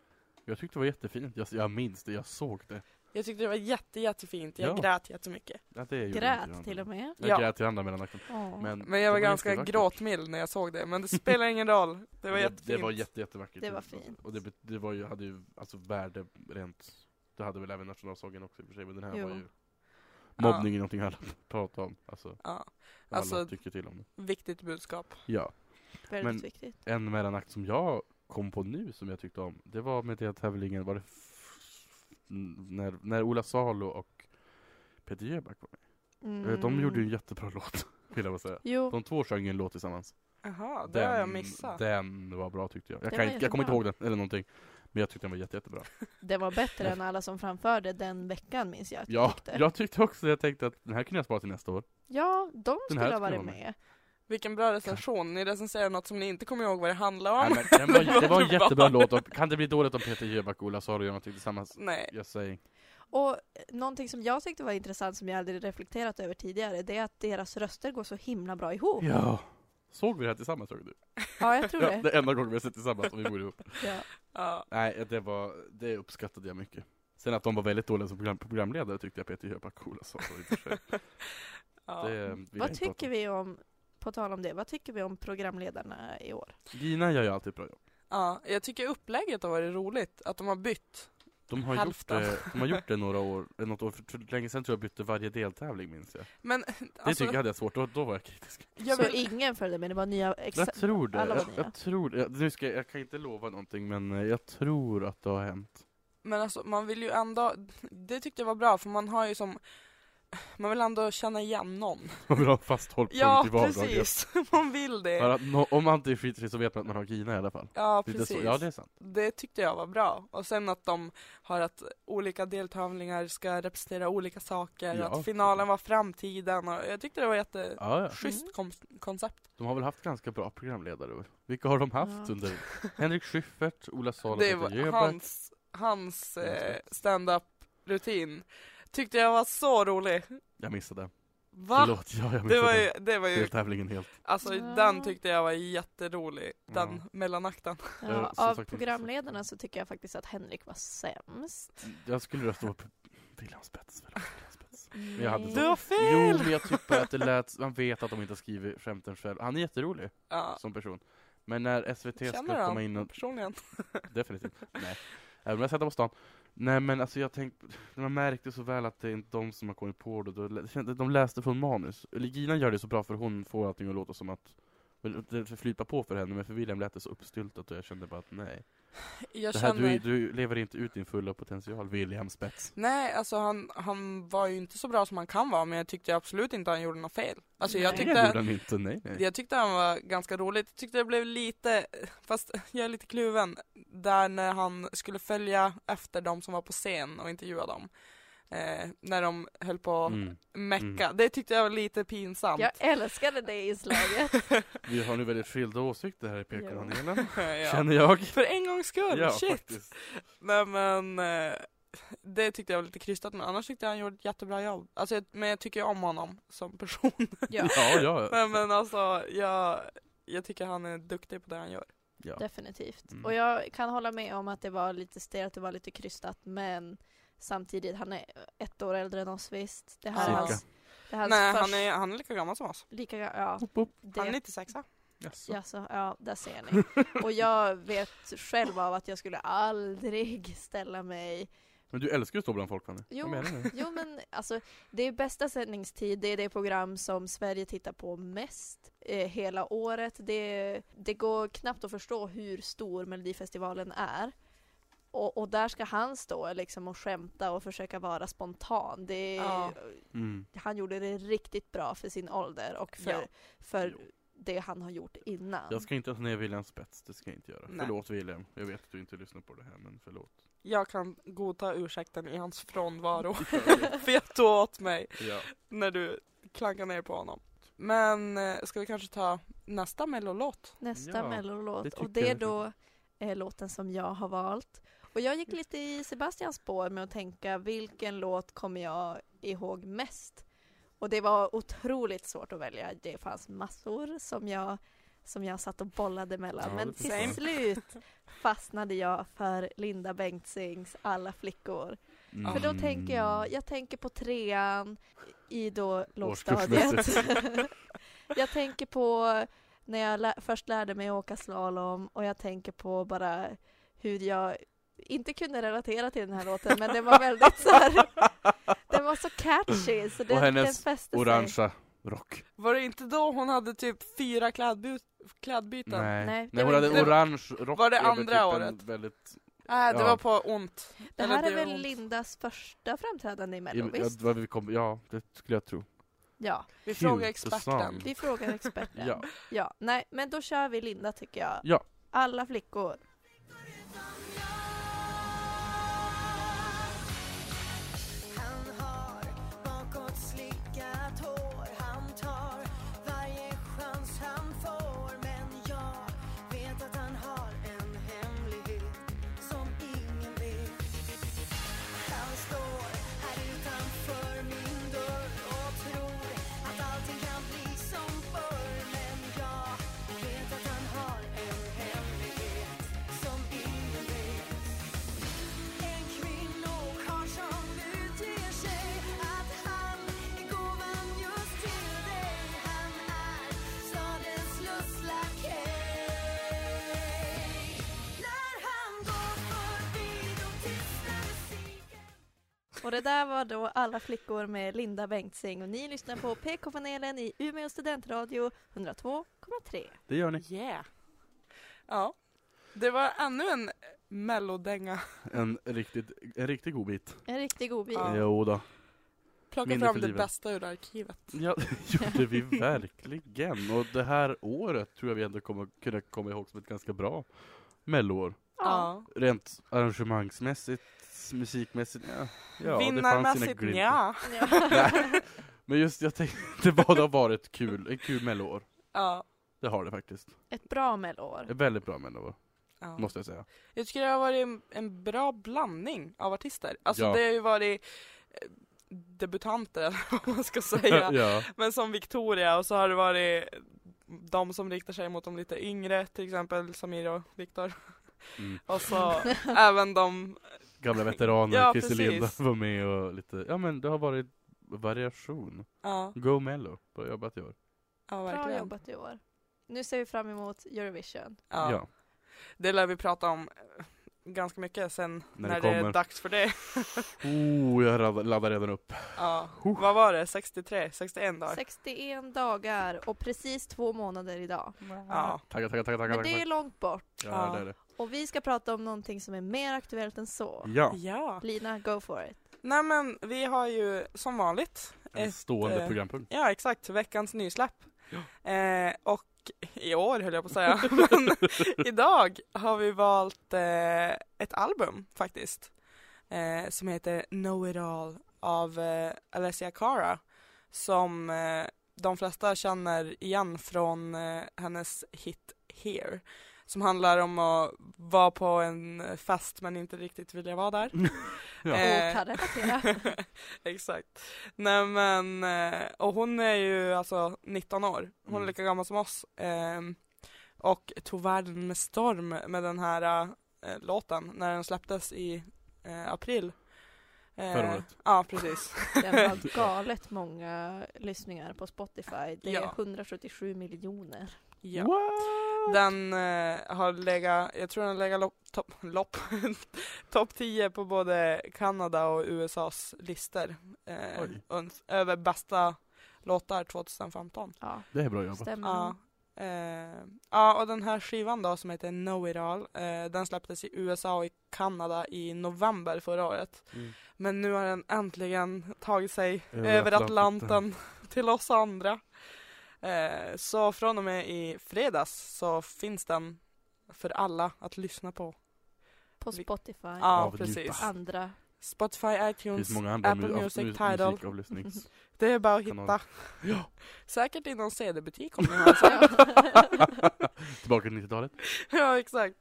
B: Jag tyckte det var jättefint, jag, jag minns det, jag såg det.
C: Jag tyckte det var jätte, jättefint, jag
B: Ja.
C: grät jättemycket.
B: Ja, det gjorde inte jag.
D: Grät till och med.
B: Jag
C: Ja.
B: grät till andra mellanakten. Men,
D: Åh.
C: Men jag var,
B: Mm, det
C: ganska
B: jättevackert.
C: gråtmild när jag såg det, men det spelar ingen roll. Det var jättefint.
B: Det var jätte, jättevackert.
D: Det var fint.
B: Och det, bet- det var ju, hade ju alltså värde rent, det hade väl även nationalsången också i och för sig, men den här
D: Jo.
B: var ju Mobbning är någonting alla pratar om, alltså,
C: ja,
B: alla
C: Alltså-
B: tycker till om det.
C: viktigt budskap.
B: Ja.
D: Väldigt
B: men-
D: viktigt.
B: En mellanakt som jag kom på nu som jag tyckte om, det var med det tävlingen, var det f- n- när, när Ola Salo och Peter Jöback var med. Eh,
D: Mm.
B: De gjorde ju en jättebra låt, vill jag bara säga.
D: Jo,
B: De två sjöng ju en låt tillsammans.
C: Jaha, det har jag missat.
B: Den var bra tyckte jag. Jag,
D: Den
B: kan,
D: var
B: inte- jag kommer inte ihåg
D: jättebra.
B: den eller någonting. Men jag tyckte den var jätte, jättebra.
D: den var bättre än alla som framförde den veckan minns jag att jag
B: Ja,
D: tyckte.
B: jag tyckte också Jag tänkte att den här kunde jag spara till nästa år.
D: Ja, de
B: Den
D: skulle
B: här
D: ha
B: skulle
D: varit
B: vara med.
D: med.
C: Vilken bra recension, ni recenserar något som ni inte kommer ihåg vad det handlar om.
B: Nej,
C: Nej.
B: men, den var, det var en
C: underbart.
B: jättebra låt. Och, kan det bli dåligt om Peter Jöback och Ola Salo gör någonting tillsammans? Jag säger
D: Och eh, någonting som jag tyckte var intressant som jag aldrig reflekterat över tidigare det är att deras röster går så himla bra ihop.
B: ja. Såg vi det här tillsammans? Såg du?
D: Ja, jag tror
B: Ja,
D: det.
B: det är enda gången vi har sett tillsammans och vi bor ihop.
D: Ja.
C: Ja.
B: Nej, det, var, det uppskattade jag mycket. Sen att de var väldigt dåliga som program, programledare tyckte jag Peter Jöback och Ola Salo i och för sig.
C: Ja.
B: Det vill jag
D: Vad
B: inte prata
D: tycker
B: om.
D: vi om, på tal om det, vad tycker vi om programledarna i år?
B: Gina gör ju alltid ett bra jobb.
C: ja, jag tycker upplägget har varit roligt, att de har bytt.
B: De har, gjort
C: Hälften.
B: det, de har gjort det några år, eh, något år, för, för länge sedan tror jag bytte varje deltävling minns jag.
C: Men
B: Det
C: alltså,
B: tycker jag hade jag svårt, då, då var jag kritisk.
C: jag
D: så
C: vill,
D: ingen följde med, det var nya
B: Jag
D: exa-
B: tror det,
D: alla var
B: jag,
D: nya.
B: jag tror det. Jag, nu ska, jag jag kan inte lova någonting men eh, jag tror att det har hänt.
C: men alltså, man vill ju ändå, det tyckte jag var bra för man har ju som, man vill ändå känna igen någon.
B: Man vill ha en fast hållpunkt
C: Ja,
B: i vardagen.
C: precis, man vill
B: För
C: det.
B: att, nå- om man inte skiter sig så vet man att man har Gina i alla fall.
C: Ja,
B: Det är det så,
C: precis.
B: ja det är sant.
C: Det tyckte jag var bra. Och sen att de har att olika deltävlingar ska representera olika saker,
B: Ja.
C: att finalen var framtiden och jag tyckte det var jätte
B: Ja, ja.
D: Mm.
C: schysst kom- koncept.
B: De har väl haft ganska bra programledare. Vilka har de haft
D: Ja.
B: under? Henrik Schyffert, Ola Salo,
C: det
B: Peter
C: var
B: Jöback.
C: hans, hans eh,
B: Jöback.
C: stand-up-rutin. Tyckte jag var så rolig.
B: Jag missade.
C: Va?
B: Förlåt, ja, jag missade
C: Det var ju, det var ju,
B: deltävlingen helt.
C: alltså
D: Ja.
C: den tyckte jag var jätterolig, den
B: Ja.
C: mellanakten.
B: Ja,
D: Ja,
B: eh, som
D: av
B: sagt,
D: programledarna så tycker jag faktiskt att Henrik var sämst.
B: Jag skulle rösta på William Spets. väl? William Spets. Men jag hade
D: Nej.
B: så-
C: Du har
B: Jo,
C: fel!
B: men jag tycker att det lät, man vet att de inte skriver skämten själv. Han är jätterolig
C: Ja,
B: som person. Men när SVT
C: känner
B: skulle komma in
C: han
B: och,
C: personligen?
B: definitivt, nej. Även om jag sett dem på stan. Nej men alltså jag tänkte, man märkte så väl att det är inte de som har kommit på det. Då lä- det kändes- De läste från manus. Eller Gina gör det så bra för hon får allting att låta som att väl, det flyter på för henne, men för William lät det så uppstyltat och jag kände bara att nej.
C: Jag
B: Det här,
C: känner...
B: du, är- du lever inte ut din fulla potential, William Spets.
C: Nej, alltså han, han var ju inte så bra som han kan vara, men jag tyckte absolut inte han gjorde något fel. Alltså jag
D: Nej.
B: Det gjorde
C: tyckte,
B: han inte, nej nej.
C: jag tyckte han var ganska rolig. Jag tyckte det blev lite, fast jag är lite kluven, där när han skulle följa efter de som var på scen och intervjua dem. Eh, när de höll på att
B: Mm.
C: mecka. Det tyckte jag var lite pinsamt.
D: Jag älskade det inslaget.
B: Vi har nu väldigt skilda åsikter här i PK-panelen.
C: Ja.
B: Känner jag.
C: För en gångs skull, shit!
B: faktiskt.
C: Nej men, eh, det tyckte jag var lite krystat men annars tyckte jag han gjorde ett jättebra jobb. Alltså, jag, men jag tycker ju om honom som person.
B: Ja,
D: Ja.
B: ja.
C: men, men alltså jag, jag tycker han är duktig på det han gör.
B: ja.
D: Definitivt.
B: Mm.
D: Och jag kan hålla med om att det var lite stelt, det var lite krystat, men samtidigt, han är ett år äldre än oss visst. Det här är
C: Ja.
D: hans, det här är hans
C: Nej
D: först-
C: han är, han är lika gammal som oss.
D: Lika, ga- ja,
B: Boop, boop.
D: det,
C: Han är 96
B: Jaså.
D: jaså, ja, där ser ni. Och jag vet själv av att jag skulle aldrig ställa mig
B: Men du älskar ju att stå bland folk Fanny.
D: Jo.
B: Vad menar du?
D: Jo men alltså, det är bästa sändningstid, det är det program som Sverige tittar på mest eh, hela året. Det, det går knappt att förstå hur stor Melodifestivalen är. Och, och där ska han stå liksom, och skämta och försöka vara spontan. Det,
C: Ja.
B: Mm.
D: Han gjorde det riktigt bra för sin ålder och för,
C: Ja.
D: för
B: Jo.
D: det han har gjort innan.
B: Jag ska inte ta ner Williams spets, det ska jag inte göra.
C: Nej.
B: Förlåt William, jag vet att du inte lyssnar på det här men förlåt.
C: Jag kan godta ursäkten i hans frånvaro. För jag tog åt mig
B: Ja.
C: när du klankade ner på honom. Men eh, ska vi kanske ta nästa mellolåt?
D: Nästa
B: Ja, det
D: mellolåt
B: tycker
D: och det är
B: jag.
D: då eh, låten som jag har valt. Och jag gick lite i Sebastians spår med att tänka vilken låt kommer jag ihåg mest? Och det var otroligt svårt att välja. Det fanns massor som jag, som jag satt och bollade mellan.
B: Ja, det
D: Men till
B: förstår jag.
D: slut fastnade jag för Linda Bengtzings Alla flickor.
B: Mm.
D: För då tänker jag, jag tänker på trean i då lågstadiet.
B: Årskursmässigt.
D: jag tänker på när jag lä- först lärde mig att åka slalom och jag tänker på bara hur jag inte kunde relatera till den här låten men den var väldigt så här, den var så catchy så den,
B: hennes
D: den fäste sig.
B: Orangea rock.
C: Var det inte då hon hade typ fyra klädby- klädbyten?
B: Nej,
D: Nej,
B: Nej,
D: det
B: hon
D: var
B: hade
C: inte-
B: orange rock
C: Var det
B: över
C: andra
B: typ en
C: året?
B: Väldigt...
C: Nej, det
B: Ja.
C: var på ont.
D: Det
C: Eller
D: här är
C: det
D: väl
C: ont.
D: Lindas första framträdande i Mello,
B: Ja,
D: visst?
B: vad vi kom... ja, det skulle jag tro.
D: Ja,
C: Vi
B: Cute
C: frågar experten.
B: song.
D: vi frågar experten.
B: Ja.
D: ja, nej, men då kör vi Linda tycker jag.
B: Ja.
D: Alla flickor.
E: Han har bakåt slickat hår Han tar varje chans han får Men jag vet att han har en hemlighet som ingen vet Han står här utanför min dörr och tror att allting kan bli som förr Men jag vet att han har en hemlighet som ingen vet en kvinnokarl som utger sig att han är gåvan just till dig Han är stadens slusslakej När han går förbi då tystnar musiken
D: Och det där var då Alla flickor med Linda Bengtzing och ni lyssnar på PK-panelen i Umeå studentradio 102,3.
B: Det gör ni.
C: Yeah. Ja. Det var ännu en mellodänga.
B: En riktigt, en riktigt god bit.
D: En riktig godbit.
C: Ja.
B: Jo då.
C: Plocka
B: Minne
C: fram
B: för
C: det
B: livet.
C: bästa ur arkivet.
B: Ja, det gjorde vi verkligen. Och det här året tror jag vi ändå kommer kunna komma ihåg som ett ganska bra melloår.
C: Ja.
B: Rent arrangemangsmässigt, musikmässigt, ja. ja det fanns sina
C: Vinnarmässigt,
B: glimtar.
C: ja.
B: Nej, Men just jag tänkte vad det har varit kul, ett kul melloår.
C: ja.
B: Det har det faktiskt.
D: Ett bra mellår.
B: Ett väldigt bra melloår,
C: ja.
B: måste jag säga.
C: Jag tycker det har varit en, en bra blandning av artister. Alltså
B: Ja.
C: det har ju varit eh, debutanter eller vad man ska säga.
B: ja.
C: Men som Victoria och så har det varit de som riktar sig mot de lite yngre till exempel Samir och Viktor.
B: Mm.
C: Och så även de,
B: Gamla veteraner,
C: Ja,
B: Christer Linda
C: precis.
B: var med och lite, ja men det har varit variation.
C: ja,
B: Go mello, bra jobbat i år.
C: ja
D: Bra
C: verkligen.
D: jobbat i år. Nu ser vi fram emot Eurovision.
C: Ja.
B: ja.
C: Det lär vi prata om eh, ganska mycket sen
B: När
C: när,
B: det
C: det,
B: kommer.
C: är dags för det.
B: Oh, jag laddar- laddar redan upp.
C: Ja.
B: Huh.
C: Vad var det, 63, 61 dagar?
D: 61 dagar och precis två månader idag.
C: Ja.
B: Tackar, tackar, tackar, tackar.
D: Men det är långt bort
B: Ja, det är det.
D: och vi ska prata om någonting som är mer aktuellt än så.
B: Ja,
C: ja.
D: Lina, go for it.
C: Nej men vi har ju som vanligt
B: en
C: Ett,
B: stående
C: eh,
B: programpunkt.
C: Ja exakt, veckans nysläpp. Eh, och i år höll jag på att säga, men idag har vi valt eh, ett album faktiskt. Eh, som heter Know It All av eh, Alessia Cara. Som eh, de flesta känner igen från eh, hennes hit Here. Som handlar om att vara på en fest men inte riktigt vilja vara där. Eh,
B: Ja.
D: Och kan relatera.
C: Exakt. Nej men, eh, och hon är ju alltså 19 år, hon är
B: Mm.
C: lika gammal som oss. ehm, Och tog världen med storm med den här eh, låten när den släpptes i eh, april. Eh,
B: Förra året.
C: Ja precis.
D: Den har galet många lyssningar på Spotify. Det är
C: Ja.
D: 177 miljoner.
C: Ja.
B: What?
C: Den eh, har legat, jag tror den har legat lopp- topp lopp, top 10 på både Kanada och USAs listor. Eh,
B: Oj.
C: uns- över bästa låtar 2015.
D: Ja,
B: Det är bra jobbat.
D: stämmer.
C: Ja. Eh, ja, och den här skivan då som heter Know It All, eh, den släpptes i USA och i Kanada i november förra året.
B: Mm.
C: Men nu har den äntligen tagit sig
B: Över
C: över
B: Atlanten.
C: Atlanten till oss andra. Eh, så från och med i fredags så finns den för alla att lyssna på.
D: På
C: vi-
D: Spotify.
C: Ja,
B: Avnjuta.
C: precis.
D: Andra.
C: Spotify,
B: Det
C: iTunes,
B: finns många andra
C: Apple
B: mu- av-
C: Music,
B: mu-
C: Tidal.
B: musikavlyssnings-
C: det är bara att
B: Kanaler.
C: hitta. Säkert i någon CD-butik om ni har en sån.
B: Tillbaka till 90-talet.
C: Ja, exakt.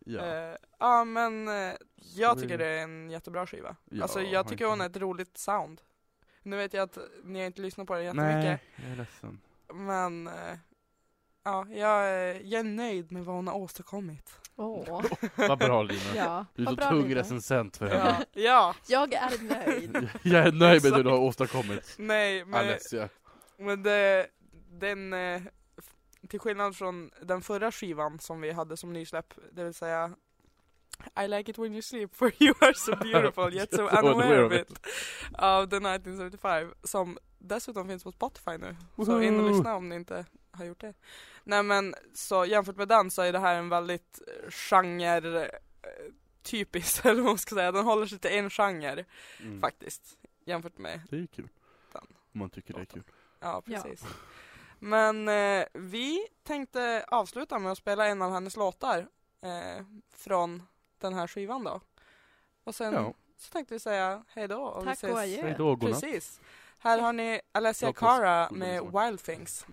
B: Ja.
C: Eh, ja men eh, jag
B: Ska
C: tycker
B: vi-
C: det är en jättebra skiva.
B: Ja,
C: alltså jag tycker hon
B: verkligen.
C: har ett roligt sound. Nu vet jag att ni har inte lyssnat på det jättemycket.
B: Nej, jag är ledsen.
C: Men eh, ja, jag, är- jag är nöjd med vad hon har åstadkommit.
D: Åh,
B: Vad bra Lina.
D: ja.
B: Du är
D: Vad
B: så
D: bra,
B: tung
D: Lina.
B: recensent för henne.
C: Ja, ja
D: Jag är nöjd.
B: Jag är nöjd med det
C: Exakt.
B: du har åstadkommit.
C: nej men,
B: Alessia.
C: men det, den, eh, f- till skillnad från den förra skivan som vi hade som nysläpp, det vill säga I like it when you sleep for you are so beautiful yet so unaware of it av The 1975 som dessutom finns på Spotify nu. Så in och lyssna om ni inte har gjort det. Nej men så jämfört med den så är det här en väldigt eh, genre eh, typisk eller vad man ska säga. Den håller sig till en genre
B: Mm.
C: faktiskt. Jämfört med,
B: Det är ju kul.
C: Den.
B: Om man tycker det är kul.
C: ja
D: Ja.
C: precis. Men eh, vi tänkte avsluta med att spela en av hennes låtar eh, från den här skivan då. Och sen
B: Ja.
C: så tänkte vi säga hejdå och vi
D: Tack och
C: ses.
D: adjö.
B: Hej då godnatt.
C: Precis. Här har ni Alessia
B: Låt oss-
C: Cara
B: godnatt.
C: med Wild Things.